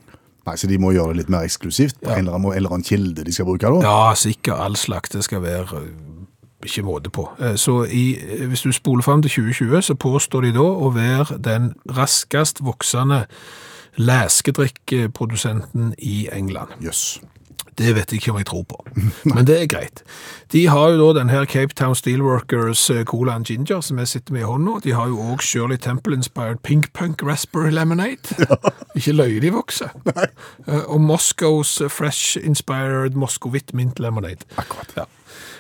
Speaker 3: Nei, Så de må gjøre det litt mer eksklusivt på en eller annen, må- eller annen kilde de skal bruke? da?
Speaker 2: Ja, sikkert. All slakt det skal være eh, ikke måte på. Eh, Så i, eh, hvis du spoler fram til 2020, så påstår de da å være den raskest voksende leskedrikkprodusenten i England.
Speaker 3: Jøss.
Speaker 2: Det vet jeg ikke om jeg tror på, men det er greit. De har jo da den her Cape Town Steelworkers eh, Cola and Ginger som jeg sitter med i hånda. De har jo òg Shirley Temple Inspired Pink Punk Raspberry Lemonade. Ikke løye de vokser. Eh, Og Moscows Fresh Inspired Moscovit Mint Lemonade. Akkurat. Ja.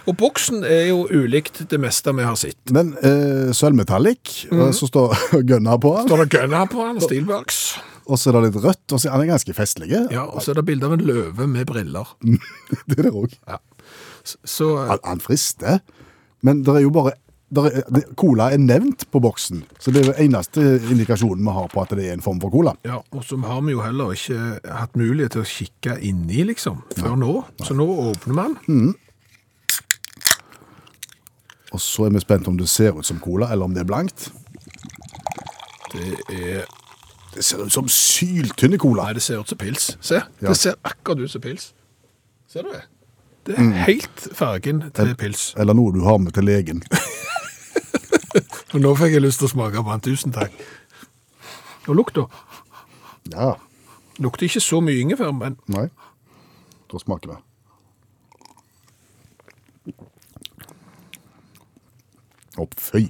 Speaker 2: Og boksen er jo ulikt det meste vi har sett.
Speaker 3: Men eh, sølvmetallic,
Speaker 2: Mm.
Speaker 3: eh, så står Gunnar på den.
Speaker 2: Står det gunner på den, Steelworks.
Speaker 3: Og så er det litt rødt, og så er den ganske festlig.
Speaker 2: Ja, og så er det bilde av en løve med briller.
Speaker 3: Det er det òg.
Speaker 2: Så eh,
Speaker 3: Han, han frister, men det er jo bare der er, det, Cola er nevnt på boksen, så det er den eneste indikasjonen vi har på at det er en form for cola.
Speaker 2: Ja, og så har vi jo heller ikke hatt mulighet til å kikke inni, liksom, før nå. Så nå åpner man.
Speaker 3: Mm. Og så er vi spent om det ser ut som cola, eller om det er blankt.
Speaker 2: Det er
Speaker 3: Det ser ut som syltynne cola.
Speaker 2: Nei, det ser ut som pils. Se,
Speaker 3: Ja.
Speaker 2: det ser akkurat ut som pils. Ser du det? Det
Speaker 3: Mm.
Speaker 2: er helt fargen til pils.
Speaker 3: Eller noe du har med til legen.
Speaker 2: Og nå fikk jeg lyst til å smake på den. Tusen takk. Og lukta
Speaker 3: Ja,
Speaker 2: Lukter ikke så mye ingefær, men
Speaker 3: nei. Da smaker det. Å, fy.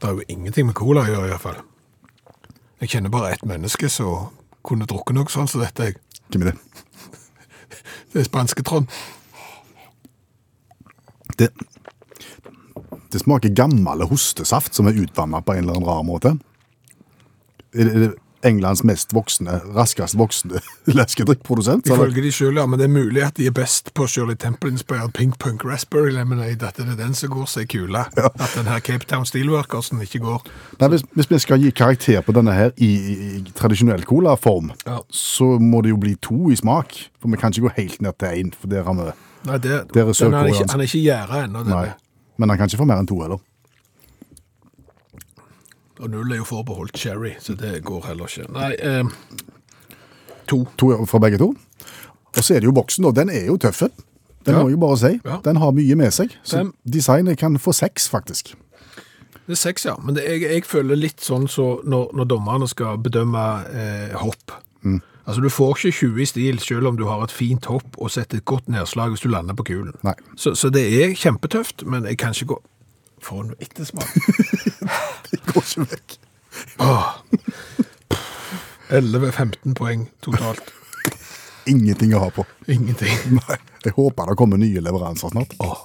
Speaker 2: det er jo ingenting med cola å gjøre, iallfall. Jeg kjenner bare ett menneske som kunne drukket noe sånn som dette. jeg.
Speaker 3: Hvem er det?
Speaker 2: Det er spanske Trond.
Speaker 3: Det, det smaker gammel hostesaft som er utvanna på en eller annen rar måte. Er det, er det Englands mest voksende, raskest voksende leskedrikkprodusent? eller?
Speaker 2: Ifølge de sjøl, ja. Men det er mulig at de er best på Shirley Temple-inspired Pink Punk Raspberry Lemonade. At det er den som går seg kula. At den her Cape Town Steelworkersen ikke går.
Speaker 3: Nei, hvis, hvis vi skal gi karakter på denne her i, i, i tradisjonell colaform,
Speaker 2: Ja.
Speaker 3: så må det jo bli to i smak. For vi kan ikke gå helt ned til én, for der har vi
Speaker 2: Nei, det,
Speaker 3: Der
Speaker 2: den er
Speaker 3: er
Speaker 2: ikke,
Speaker 3: sørkoreansk.
Speaker 2: han er ikke gjerdet ennå. den
Speaker 3: Nei.
Speaker 2: er.
Speaker 3: Men han kan ikke få mer enn to heller.
Speaker 2: Og null er jo forbeholdt cherry, så det går heller ikke. Nei, eh, to.
Speaker 3: To fra begge to. Og så er det jo boksen, og den er jo tøff. Den
Speaker 2: Ja.
Speaker 3: må jeg jo bare si.
Speaker 2: Ja.
Speaker 3: Den har mye med seg. Så
Speaker 2: Den-
Speaker 3: designet kan få seks, faktisk.
Speaker 2: Det er seks, ja. Men det, jeg, jeg føler litt sånn så når, når dommerne skal bedømme eh, hopp. Altså, Du får ikke 20 i stil selv om du har et fint hopp og setter et godt nedslag hvis du lander på kulen.
Speaker 3: Nei.
Speaker 2: Så, så det er kjempetøft, men jeg kan ikke gå For en ettersmak.
Speaker 3: Går ikke vekk.
Speaker 2: 11-15 poeng totalt.
Speaker 3: Ingenting å ha på.
Speaker 2: Ingenting.
Speaker 3: Nei. Jeg håper det kommer nye leveranser snart.
Speaker 2: Åh.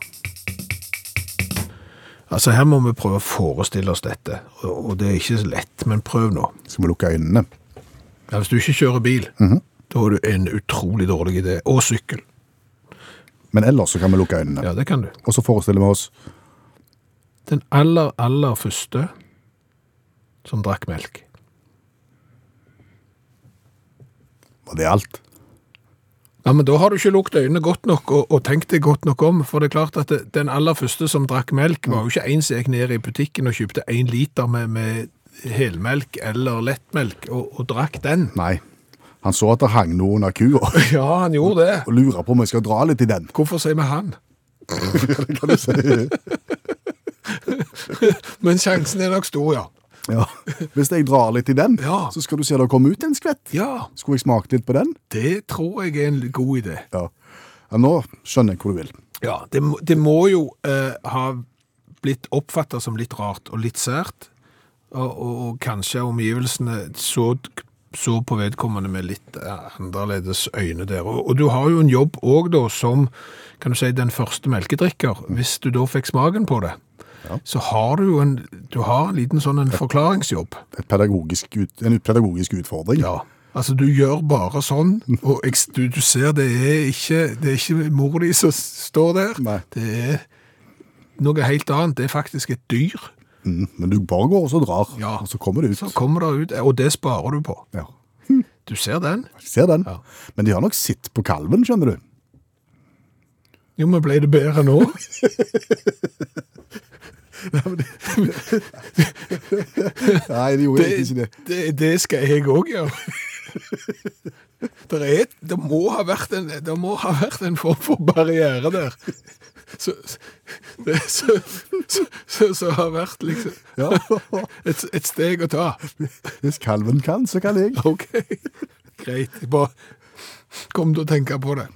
Speaker 2: Altså, her må vi prøve å forestille oss dette, og og det er ikke så lett, men prøv nå.
Speaker 3: Skal vi lukke øynene?
Speaker 2: Ja, hvis du ikke kjører bil, da er du en utrolig dårlig idé. Og sykkel.
Speaker 3: Men ellers så kan vi lukke øynene.
Speaker 2: Ja, det kan du.
Speaker 3: Og så forestiller vi oss
Speaker 2: Den aller, aller første som drakk melk.
Speaker 3: Var det alt?
Speaker 2: Ja, men da har du ikke lukket øynene godt nok og, og tenkt deg godt nok om, for det er klart at det, den aller første som drakk melk var jo ikke en som gikk ned i butikken og kjøpte en liter med, med helmelk eller lettmelk og, og drakk den.
Speaker 3: Nei. Han så at det hang noe under kua,
Speaker 2: Ja, han gjorde det.
Speaker 3: og lurer på om jeg skal dra litt i den.
Speaker 2: Hvorfor sier vi han?
Speaker 3: Det kan du si.
Speaker 2: Men sjansen er nok stor, ja.
Speaker 3: Ja. Hvis jeg drar litt i den,
Speaker 2: Ja.
Speaker 3: så skal du se det komme ut en skvett.
Speaker 2: Ja,
Speaker 3: Skulle jeg smakt litt på den?
Speaker 2: det tror jeg er en god idé.
Speaker 3: Ja. ja nå skjønner jeg hvor du vil.
Speaker 2: Ja, det, må- det må jo eh, ha blitt oppfattet som litt rart og litt sært, og, og, og kanskje omgivelsene så, så på vedkommende med litt eh, annerledes øyne der. Og, og du har jo en jobb også da som, kan du si, den første melkedrikker, hvis du da fikk smaken på det. Så har du jo en, du har en liten sånn en forklaringsjobb.
Speaker 3: Et pedagogisk ut, en pedagogisk utfordring.
Speaker 2: Ja. Altså, du gjør bare sånn, og jeg, du, du ser det er ikke, det er ikke mor di som står der.
Speaker 3: Nei.
Speaker 2: Det er noe helt annet. Det er faktisk et dyr.
Speaker 3: Mm, men du bare går og så drar,
Speaker 2: Ja.
Speaker 3: og så kommer det ut.
Speaker 2: Så kommer det ut, og det sparer du på.
Speaker 3: Ja.
Speaker 2: Du ser den.
Speaker 3: Jeg ser den.
Speaker 2: Ja.
Speaker 3: Men de har nok sitt på kalven, skjønner du.
Speaker 2: Jo, men ble det bedre nå?
Speaker 3: Nei, de gjorde egentlig ikke det.
Speaker 2: det, det skal jeg òg gjøre. Det, er, det, må ha vært en, det må ha vært en form for barriere der. Så, det, så, så, så, så har vært liksom
Speaker 3: Ja.
Speaker 2: et, et steg å ta.
Speaker 3: Hvis kalven kan, så kan jeg.
Speaker 2: Ok, greit. Jeg Bare kom til å tenke på det.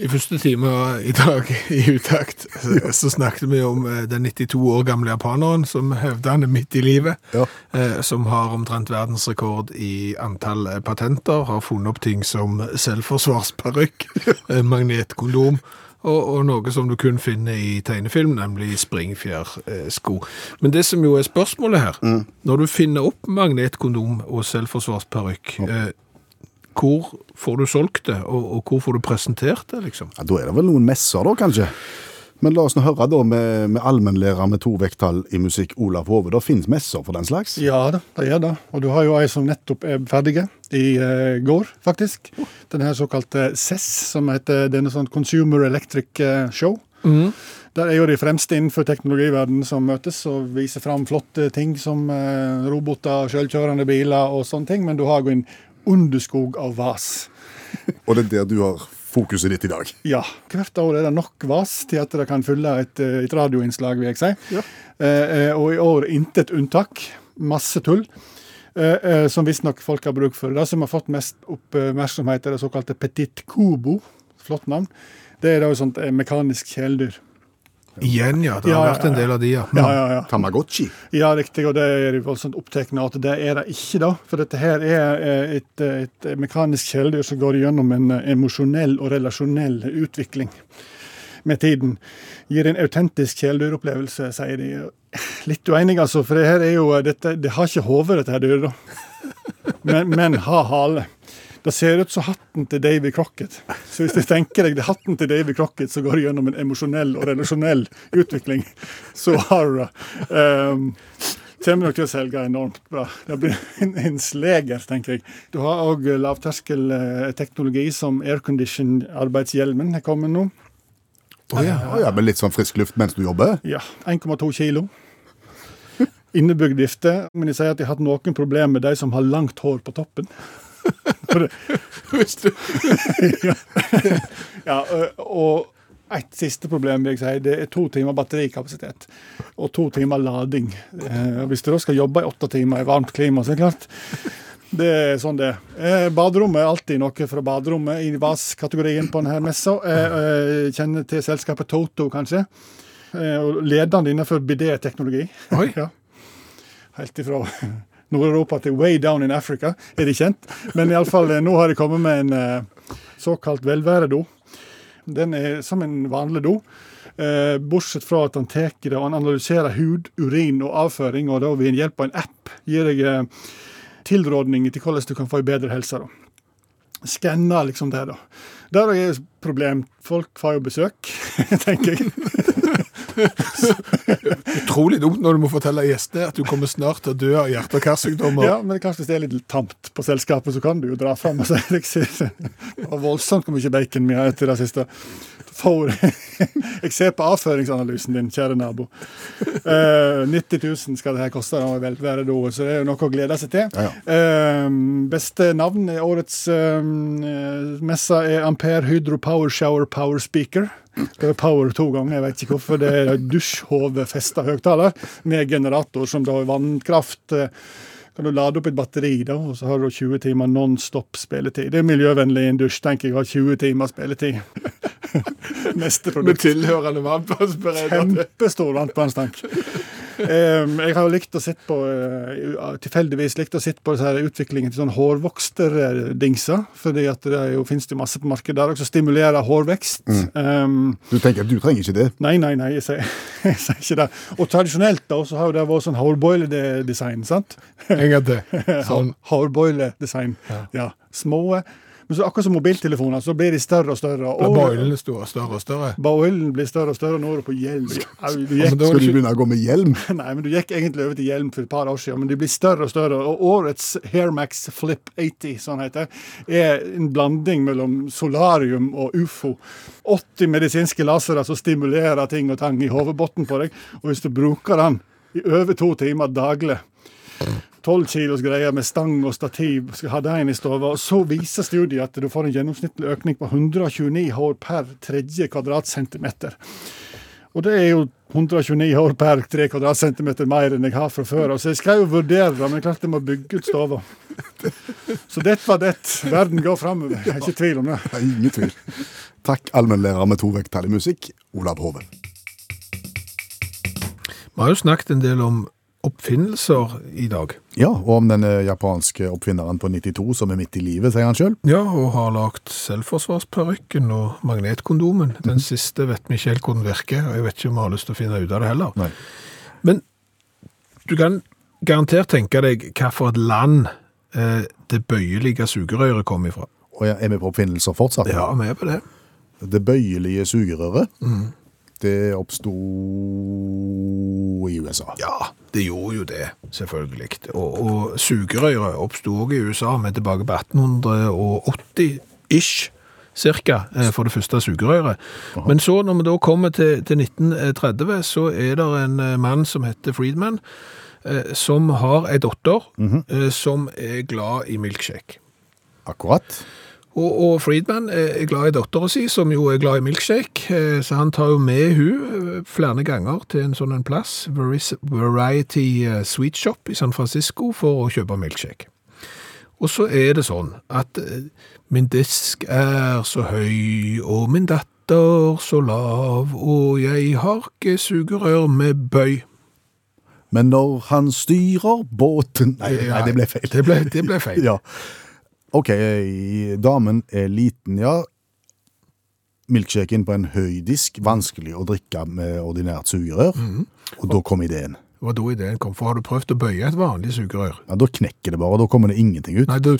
Speaker 2: I første time i dag i utakt så, så snakket vi om eh, den 92 år gamle japaneren som hevder han er midt i livet,
Speaker 3: Ja.
Speaker 2: eh, som har omtrent verdensrekord i antall eh, patenter, har funnet opp ting som selvforsvarsparykk, eh, magnetkondom og, og noe som du kun finner i tegnefilm, nemlig springfjærsko. Men det som jo er spørsmålet her, når du finner opp magnetkondom og selvforsvarsparykk, eh, hvor får du solgt det, og, og hvor får du presentert det, liksom?
Speaker 3: Ja, da er det vel noen messer, da, kanskje. Men la oss nå høre da med, med allmennlærer med to vekttall i musikk, Olav Hove. Det finnes messer for den slags?
Speaker 5: Ja da, det gjør det. Og du har jo ei som nettopp er ferdig i eh, går, faktisk. Den her såkalte CESS, som heter denne sånn Consumer Electric eh, Show. Der er jo de fremste innenfor teknologiverdenen som møtes og viser fram flotte ting som eh, roboter, selvkjørende biler og sånne ting, men du har jo en underskog av vas.
Speaker 3: Og det er der du har fokuset ditt i dag.
Speaker 5: Ja. Hvert år er det nok vas til at det kan fylle et, eh, et radioinnslag, vil jeg si. Eh, eh, og i år intet unntak. Masse tull. Eh, eh, som visstnok folk har bruk for. Det som har fått mest oppmerksomhet, er det såkalte petit kubo. Flott navn. Det er da et sånt eh, mekanisk kjæledyr.
Speaker 2: Igjen, ja. Det har
Speaker 5: Ja, ja,
Speaker 2: vært en
Speaker 5: ja.
Speaker 2: del av de, ja.
Speaker 5: Ja, ja, ja.
Speaker 3: Tamagotchi.
Speaker 5: Ja, riktig, og det er de voldsomt opptatt av at det er det ikke, da. For dette her er eh, et, eh, et mekanisk kjæledyr som går gjennom en eh, emosjonell og relasjonell utvikling med tiden. Gir en autentisk kjæledyropplevelse, sier de. Litt uenig, altså, for det her er jo eh, dette, Det har ikke hode, dette her dyret, da. Men, men har hale. Det ser ut som hatten til Davy Crocket. Så hvis du tenker deg det er hatten til Davy Crocket som går gjennom en emosjonell og relasjonell utvikling, så har du det. Ehm, Kommer nok til å selge enormt bra. Det blir en, en sleger, tenker jeg. Du har òg lavterskelteknologi som aircondition-arbeidshjelmen er kommet nå.
Speaker 2: Å, ja.
Speaker 3: Ja, ja, Med litt sånn frisk luft mens du jobber.
Speaker 5: Ja, 1,2 kilo. Innebygd vifte. Men de sier at de har hatt noen problemer med de som har langt hår på toppen. For det,
Speaker 2: Hvis du...
Speaker 5: Ja, ø, og et siste problem vil jeg si, det er to timer batterikapasitet og to timer lading. Eh, og hvis du da skal jobbe i åtte timer i varmt klima, så er det klart. Det er sånn det er. Eh, baderommet er alltid noe fra baderommet i VAS-kategorien på denne messa. Eh, eh, kjenner til selskapet Toto, kanskje. Eh, og ledende innenfor bidé-teknologi.
Speaker 2: Oi.
Speaker 5: ja. Helt ifra Nord-Europa til way down in Africa er de kjent. Men iallfall, eh, nå har de kommet med en eh, såkalt velværedo. Den er som en vanlig do, eh, bortsett fra at han tar det og han analyserer hud, urin og avføring, og da ved hjelp av en app gir deg eh, tilrådninger til hvordan du kan få ei bedre helse. da. Skanner liksom det, da. Der er jo et problem. Folk får jo besøk, tenker jeg.
Speaker 2: Mm. Utrolig dumt når du må fortelle gjestene at du kommer snart til å dø av hjerte- og karsykdommer.
Speaker 5: Ja, men kanskje hvis det er litt tamt på selskapet, så kan du jo dra fram og si jeg ser- det var voldsomt hvor mye bacon vi har etter det siste. For, jeg ser på avføringsanalysen din, kjære nabo. Eh, 90 000 skal det her koste, da, vel, være da, så det er jo noe å glede seg til.
Speaker 3: Ja,
Speaker 5: Eh, beste navn i årets uh, messe er Ampere Hydro Power Shower Power Speaker. Det er power to ganger, jeg vet ikke hvorfor. Det er dusjhode festa høyttaler med generator som da er vannkraft. eh, kan du lade opp et batteri, da, og så har du 20 timer non stop spilletid. Det er miljøvennlig i en dusj, tenker jeg, å ha 20 timer spilletid. Neste
Speaker 2: Med
Speaker 5: produkt.
Speaker 2: tilhørende vannpassbereder.
Speaker 5: Kjempestor varmtvannstank. Em, jeg har jo likt å sitte på eh, tilfeldigvis likt å sitte på disse her utviklingen til sånn hårvoksterdingser. fordi at det er jo, finnes det jo masse på markedet der også, stimulerer hårvekst.
Speaker 2: Mm.
Speaker 5: Em,
Speaker 3: Du tenker at du trenger ikke det.
Speaker 5: nei, nei, nei, jeg sier, jeg sier ikke det. Og tradisjonelt da, så har jo det vært sånn hårboiledesign. sant?
Speaker 2: En gang til. Sånn.
Speaker 5: Hårboiledesign. Ja. Små. Men så akkurat som mobiltelefoner, så blir de større og større.
Speaker 2: Og
Speaker 5: og-
Speaker 2: boilene sto større og større.
Speaker 5: Boilen blir større og større, og nå er du på hjelm. Au, Du
Speaker 2: Ja, men da
Speaker 5: gikk,
Speaker 2: var
Speaker 3: Skal
Speaker 2: det
Speaker 3: du
Speaker 2: ikke-
Speaker 3: begynne å gå med hjelm?
Speaker 5: nei, men du gikk egentlig over til hjelm for et par år siden, men de blir større og større. Og årets Hairmax Flip 80, som den heter, er en blanding mellom solarium og ufo. 80 medisinske lasere som stimulerer ting og tang i hodebunnen på deg, og hvis du bruker den i over to timer daglig 12 kilos greier med stang og stativ, skal ha det inn i stova, og så viser studiet at du får en gjennomsnittlig økning på 129 hår per tredje kvadratcentimeter. Og det er jo 129 hår per 3 kvadratcentimeter mer enn jeg har fra før. av, Så jeg skal jo vurdere det, men jeg klart jeg må bygge ut stova. Så dette var det. Verden går framover. Jeg er ikke i tvil om det.
Speaker 3: Nei, Ingen tvil. Takk, allmennlærer med to vekttall i musikk, Olav Hoven.
Speaker 2: Vi har jo snakket en del om oppfinnelser i dag.
Speaker 3: Ja, og om den eh, japanske oppfinneren på 92 som er midt i livet, sier han sjøl.
Speaker 2: Ja, og har lagd selvforsvarsparykken og magnetkondomen. Den
Speaker 5: Mhm.
Speaker 2: siste vet vi ikke helt hvordan virker, og jeg vet ikke om vi har lyst til å finne ut av det heller.
Speaker 3: Nei.
Speaker 2: Men du kan garantert tenke deg hva for et land eh, det bøyelige sugerøret kom ifra.
Speaker 3: Og jeg er med på oppfinnelser fortsatt.
Speaker 2: Ja, vi er på det.
Speaker 3: Det bøyelige sugerøret,
Speaker 2: Mm.
Speaker 3: det oppsto i USA.
Speaker 2: Ja, det gjorde jo det, selvfølgelig. Og, og sugerøret oppsto også i USA, men tilbake på 1880-ish, cirka, eh, for det første sugerøret. Men så, når vi da kommer til, til 1930, så er det en eh, mann som heter Friedman, eh, som har ei datter eh, som er glad i milkshake.
Speaker 3: Akkurat.
Speaker 2: Og, og Friedman eh, er glad i datteren sin, som jo er glad i milkshake, eh, så han tar jo med hun eh, flere ganger til en sånn en plass, Varis- Variety eh, Sweet Shop i San Francisco, for å kjøpe milkshake. Og så er det sånn at eh, min disk er så høy, og min datter så lav, og jeg har ikke sugerør med bøy.
Speaker 3: Men når han styrer båten Nei, nei det ble feil.
Speaker 2: Det ble, det ble feil.
Speaker 3: Ja. OK, damen er liten, ja. Milkshaken på en høy disk, vanskelig å drikke med ordinært sugerør.
Speaker 2: Mm.
Speaker 3: Og da kom ideen.
Speaker 2: Det var da ideen kom, for har du prøvd å bøye et vanlig sugerør?
Speaker 3: Ja, Da knekker det bare, da kommer det ingenting ut.
Speaker 2: Nei, du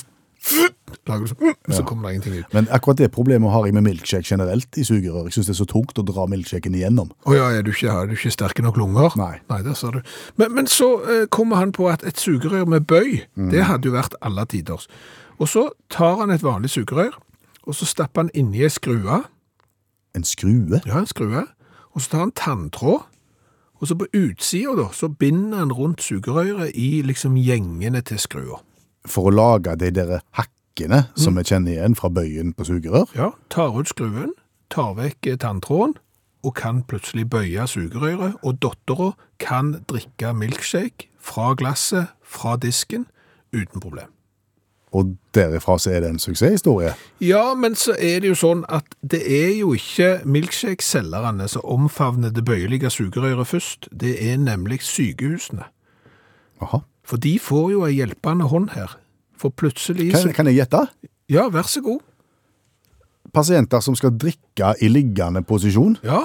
Speaker 2: lager du sånn, så kommer det ingenting ut.
Speaker 3: Men akkurat det problemet har jeg med milkshake generelt i sugerør. Jeg syns det er så tungt å dra milkshaken igjennom.
Speaker 2: Å ja, er du ikke, er du ikke sterke nok lunger?
Speaker 3: Nei.
Speaker 2: Nei, det sa du. Men, men så eh, kommer han på at et sugerør med bøy, det hadde jo vært alle tiders. Og så tar han et vanlig sugerør, og så stapper han inni ei skrue,
Speaker 3: En skrue?
Speaker 2: ja, en skrue, og så tar han tanntråd, og så på utsida da, så binder han rundt sugerøret i liksom gjengene til skrua.
Speaker 3: For å lage de der hakkene
Speaker 2: Mm.
Speaker 3: som vi kjenner igjen fra bøyen på sugerør.
Speaker 2: Ja, tar ut skruen, tar vekk eh, tanntråden, og kan plutselig bøye sugerøret, og dottera kan drikke milkshake fra glasset, fra disken, uten problem.
Speaker 3: Og derifra så er det en suksesshistorie.
Speaker 2: Ja, men så er det jo sånn at det er jo ikke milkshake-selgerne som omfavner det bøyelige sugerøret først, det er nemlig sykehusene.
Speaker 3: Aha.
Speaker 2: For de får jo ei hjelpende hånd her. For plutselig så
Speaker 3: Kan, kan jeg gjette?
Speaker 2: Ja, vær så god.
Speaker 3: Pasienter som skal drikke i liggende posisjon,
Speaker 2: Ja,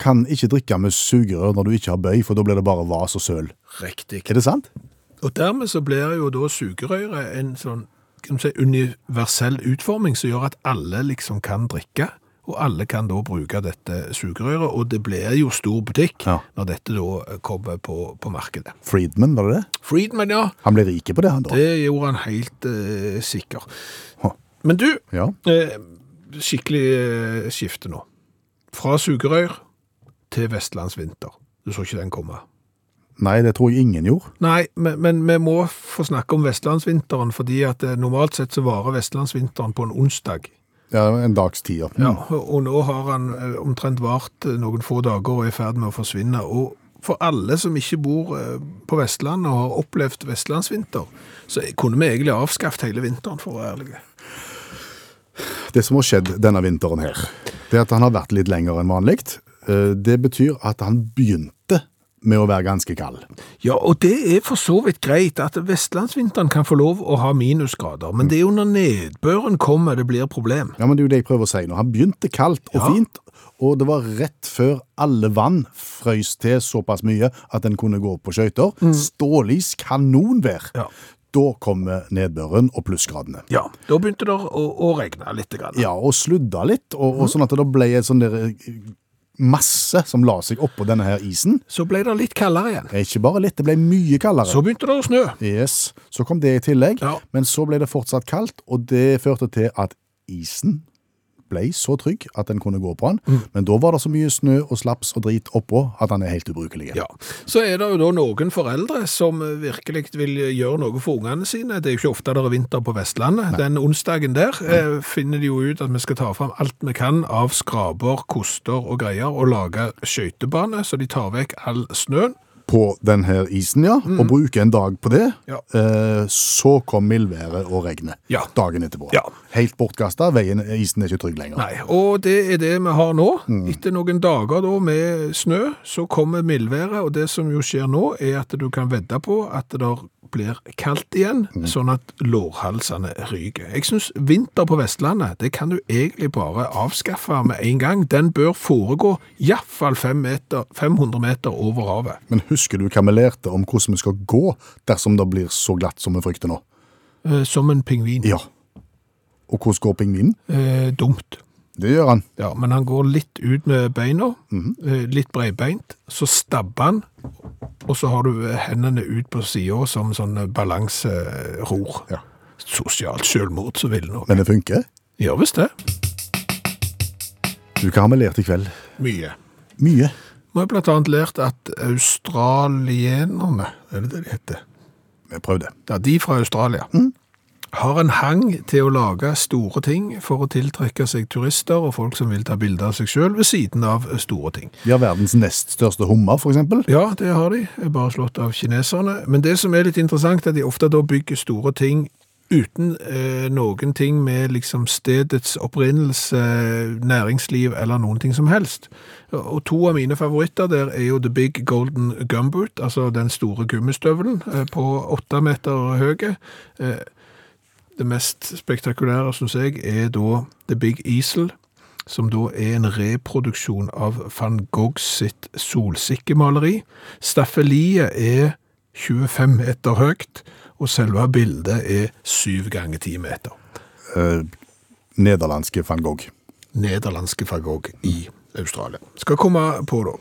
Speaker 3: kan ikke drikke med sugerør når du ikke har bøy, for da blir det bare vas og søl.
Speaker 2: riktig.
Speaker 3: Er det sant?
Speaker 2: Og dermed så blir jo da sugerøret en sånn kan du si, universell utforming som gjør at alle liksom kan drikke. Og alle kan da bruke dette sugerøret, og det blir jo stor butikk
Speaker 3: Ja.
Speaker 2: når dette da kommer på, på markedet.
Speaker 3: Friedman, var det det?
Speaker 2: Friedman, ja.
Speaker 3: Han ble rike på det, han da.
Speaker 2: Det gjorde han helt eh, sikker.
Speaker 3: Huh.
Speaker 2: Men du,
Speaker 3: Ja.
Speaker 2: eh, skikkelig eh, skifte nå. Fra sugerør til vestlandsvinter. Du så ikke den komme.
Speaker 3: Nei, det tror jeg ingen gjorde.
Speaker 2: Nei, men, men vi må få snakke om vestlandsvinteren, fordi at eh, normalt sett så varer vestlandsvinteren på en onsdag.
Speaker 3: Ja, En dags tid. ja. Mm.
Speaker 2: Ja. Og, og nå har han eh, omtrent vart eh, noen få dager og er i ferd med å forsvinne. Og for alle som ikke bor eh, på Vestlandet og har opplevd vestlandsvinter, så kunne vi egentlig avskaffet hele vinteren, for å være ærlige.
Speaker 3: Det som har skjedd denne vinteren her, det er at han har vært litt lenger enn vanlig. Eh, Det betyr at han begynte med å være ganske kald.
Speaker 2: Ja, og det er for så vidt greit at vestlandsvinteren kan få lov å ha minusgrader, men det er jo når nedbøren kommer det blir problem.
Speaker 3: Ja, men det er jo det jeg prøver å si nå. Han begynte kaldt og
Speaker 2: Ja.
Speaker 3: fint, og det var rett før alle vann frøys til såpass mye at en kunne gå på skøyter. Stålis kanonvær.
Speaker 2: Mm. Ja.
Speaker 3: Da kommer nedbøren og plussgradene.
Speaker 2: Ja, da begynte det å, å regne litt. Grann.
Speaker 3: Ja, og sludda litt, og, og sånn at det ble en sånn der eh, masse som la seg oppå denne her isen.
Speaker 2: Så ble det litt kaldere igjen.
Speaker 3: Eh, Ikke bare litt, det ble mye kaldere.
Speaker 2: Så begynte det å snø.
Speaker 3: Yes. Så kom det i tillegg,
Speaker 2: Ja.
Speaker 3: men så ble det fortsatt kaldt, og det førte til at isen ble så trygg at den kunne gå på den,
Speaker 2: Mm.
Speaker 3: men da var det så mye snø og slaps og drit oppå at den er helt ubrukelig.
Speaker 2: Ja, Så er det jo da noen foreldre som virkelig vil gjøre noe for ungene sine. Det er jo ikke ofte det er vinter på Vestlandet. Den onsdagen der eh, finner de jo ut at vi skal ta fram alt vi kan av skraper, koster og greier, og lage skøytebane, så de tar vekk all snøen.
Speaker 3: På denne isen, ja, og bruke en dag på det,
Speaker 2: Mm. Ja.
Speaker 3: eh, så kom mildværet og regnet
Speaker 2: Ja.
Speaker 3: dagen etterpå.
Speaker 2: Ja.
Speaker 3: Helt bortkasta, veien, isen er ikke trygg lenger.
Speaker 2: Nei, og det er det vi har nå. Etter noen dager da med snø, så kommer mildværet, og det som jo skjer nå, er at du kan vedde på at det blir kaldt igjen, sånn at lårhalsene ryker. Jeg synes vinter på Vestlandet, det kan du egentlig bare avskaffe med en gang. Den bør foregå i hvert fall fem meter, 500 meter over havet.
Speaker 3: Men husker du hva vi lærte om hvordan vi skal gå dersom det blir så glatt som vi frykter nå?
Speaker 2: Eh, Som en pingvin.
Speaker 3: Ja. Og hvordan går pingvinen?
Speaker 2: Eh, dumt.
Speaker 3: Det gjør han.
Speaker 2: Ja, men han går litt ut med beina, eh, litt breibeint, så stabber han, og så har du eh, hendene ut på siden som sånn balanseror.
Speaker 3: Ja.
Speaker 2: Sosialt selvmord, så vil nå.
Speaker 3: Men det funker.
Speaker 2: Gjør visst det.
Speaker 3: Du, hva har vi lært i kveld?
Speaker 2: Mye.
Speaker 3: Mye.
Speaker 2: Vi har blant annet lært at australienerne, er det det de heter?
Speaker 3: Vi prøvde.
Speaker 2: Ja, de fra Australia. Har en hang til å lage store ting for å tiltrekke seg turister og folk som vil ta bilder av seg selv ved siden av store ting.
Speaker 3: De har verdens nest største hummer, for eksempel.
Speaker 2: Ja, det har de. Bare slått av kineserne. Men det som er litt interessant, er at de ofte da bygger store ting uten eh, noen ting med liksom stedets opprinnelse, næringsliv eller noen ting som helst. Og to av mine favoritter der er jo The Big Golden Gumboot, altså den store gummistøvelen eh, på åtte meter høye. Eh, det mest spektakulære, synes jeg, er da The Big Easel, som da er en reproduksjon av van Gogh sitt solsikkemaleri. Staffeliet er 25 meter høyt, og selve bildet er 7 ganger 10 meter.
Speaker 3: Eh, nederlandske van Gogh.
Speaker 2: Nederlandske van Gogh i Australia. Skal komme på det.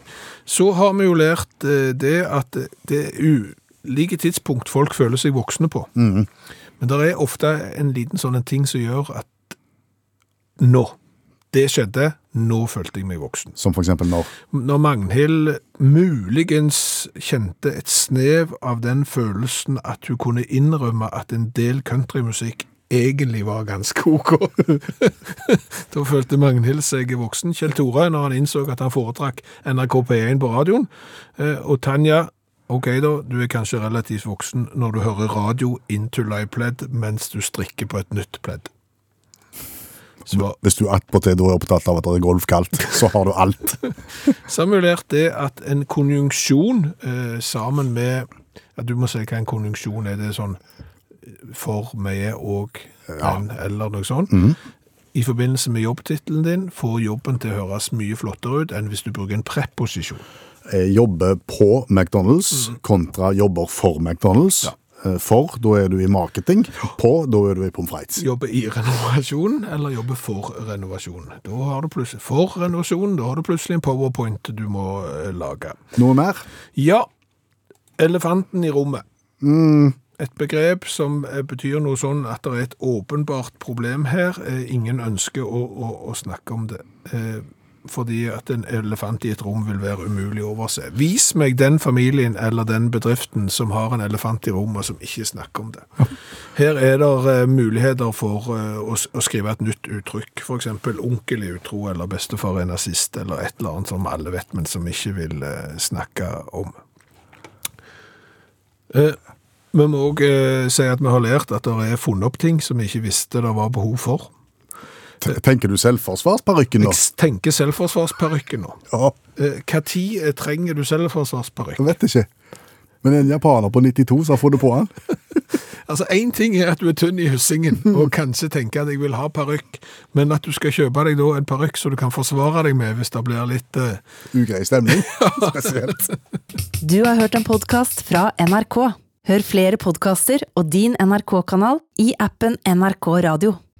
Speaker 2: Så har vi jo lært eh, det at det er ulike tidspunkt folk føler seg voksne på. Men det er ofte en liten sånn en ting som gjør at nå, det skjedde, nå følte jeg meg voksen
Speaker 3: Som for eksempel når
Speaker 2: når Magnhild muligens kjente et snev av den følelsen at hun kunne innrømme at en del countrymusikk egentlig var ganske ok. da følte Magnhild seg voksen. Kjell Tore, når han innså at han foretrakk NRK P1 på radioen, eh, og Tanja Ok da, du er kanskje relativt voksen når du hører radio inntulla i pledd mens du strikker på et nytt pledd. Så
Speaker 3: Hvis du attpåtil da er opptatt av at det er golfkaldt, så har du alt.
Speaker 2: Samulert det at en konjunksjon eh, sammen med ja, Du må si hva en konjunksjon er. Det er sånn for, med og en, eller noe sånt. I forbindelse med jobbtittelen din får jobben til å høres mye flottere ut enn hvis du bruker en preposisjon.
Speaker 3: Jeg jobber på McDonald's kontra jobber for McDonald's. Eh, For, da er du i marketing. På, da er du i pommes frites.
Speaker 2: Jobbe i renovasjonen eller jobbe for renovasjonen. Da har du plutselig for renovasjonen, da har du plutselig en powerpoint du må eh, lage.
Speaker 3: Noe mer?
Speaker 2: Ja, elefanten i rommet.
Speaker 3: Mm,
Speaker 2: Et begrep som eh, betyr noe sånn at det er et åpenbart problem her. Eh, Ingen ønsker å, å, å snakke om det. Eh, Fordi at en elefant i et rom vil være umulig å overse. Vis meg den familien eller den bedriften som har en elefant i rommet som ikke snakker om det. Her er det muligheter for eh, å, s- å skrive et nytt uttrykk. F.eks. onkel er utro, eller bestefar er nazist, eller et eller annet som alle vet, men som ikke vil eh, snakke om. Eh, Vi må òg eh, si at vi har lært at det er funnet opp ting som vi ikke visste det var behov for.
Speaker 3: T- Tenker du selvforsvarsparykken nå?
Speaker 2: Jeg tenker selvforsvarsparykken nå.
Speaker 3: Ja,
Speaker 2: Eh, Hva tid eh, trenger du selvforsvarsparykk?
Speaker 3: jeg vet ikke. Men en japaner på 92 som har fått det på han.
Speaker 2: Altså, Én ting er at du er tynn i hyssingen og kanskje tenker at jeg vil ha parykk, men at du skal kjøpe deg da en parykk som du kan forsvare deg med hvis det blir litt eh,
Speaker 3: Ugrei stemning. Spesielt.
Speaker 1: Du har hørt en podkast fra NRK. Hør flere podkaster og din NRK-kanal i appen NRK Radio.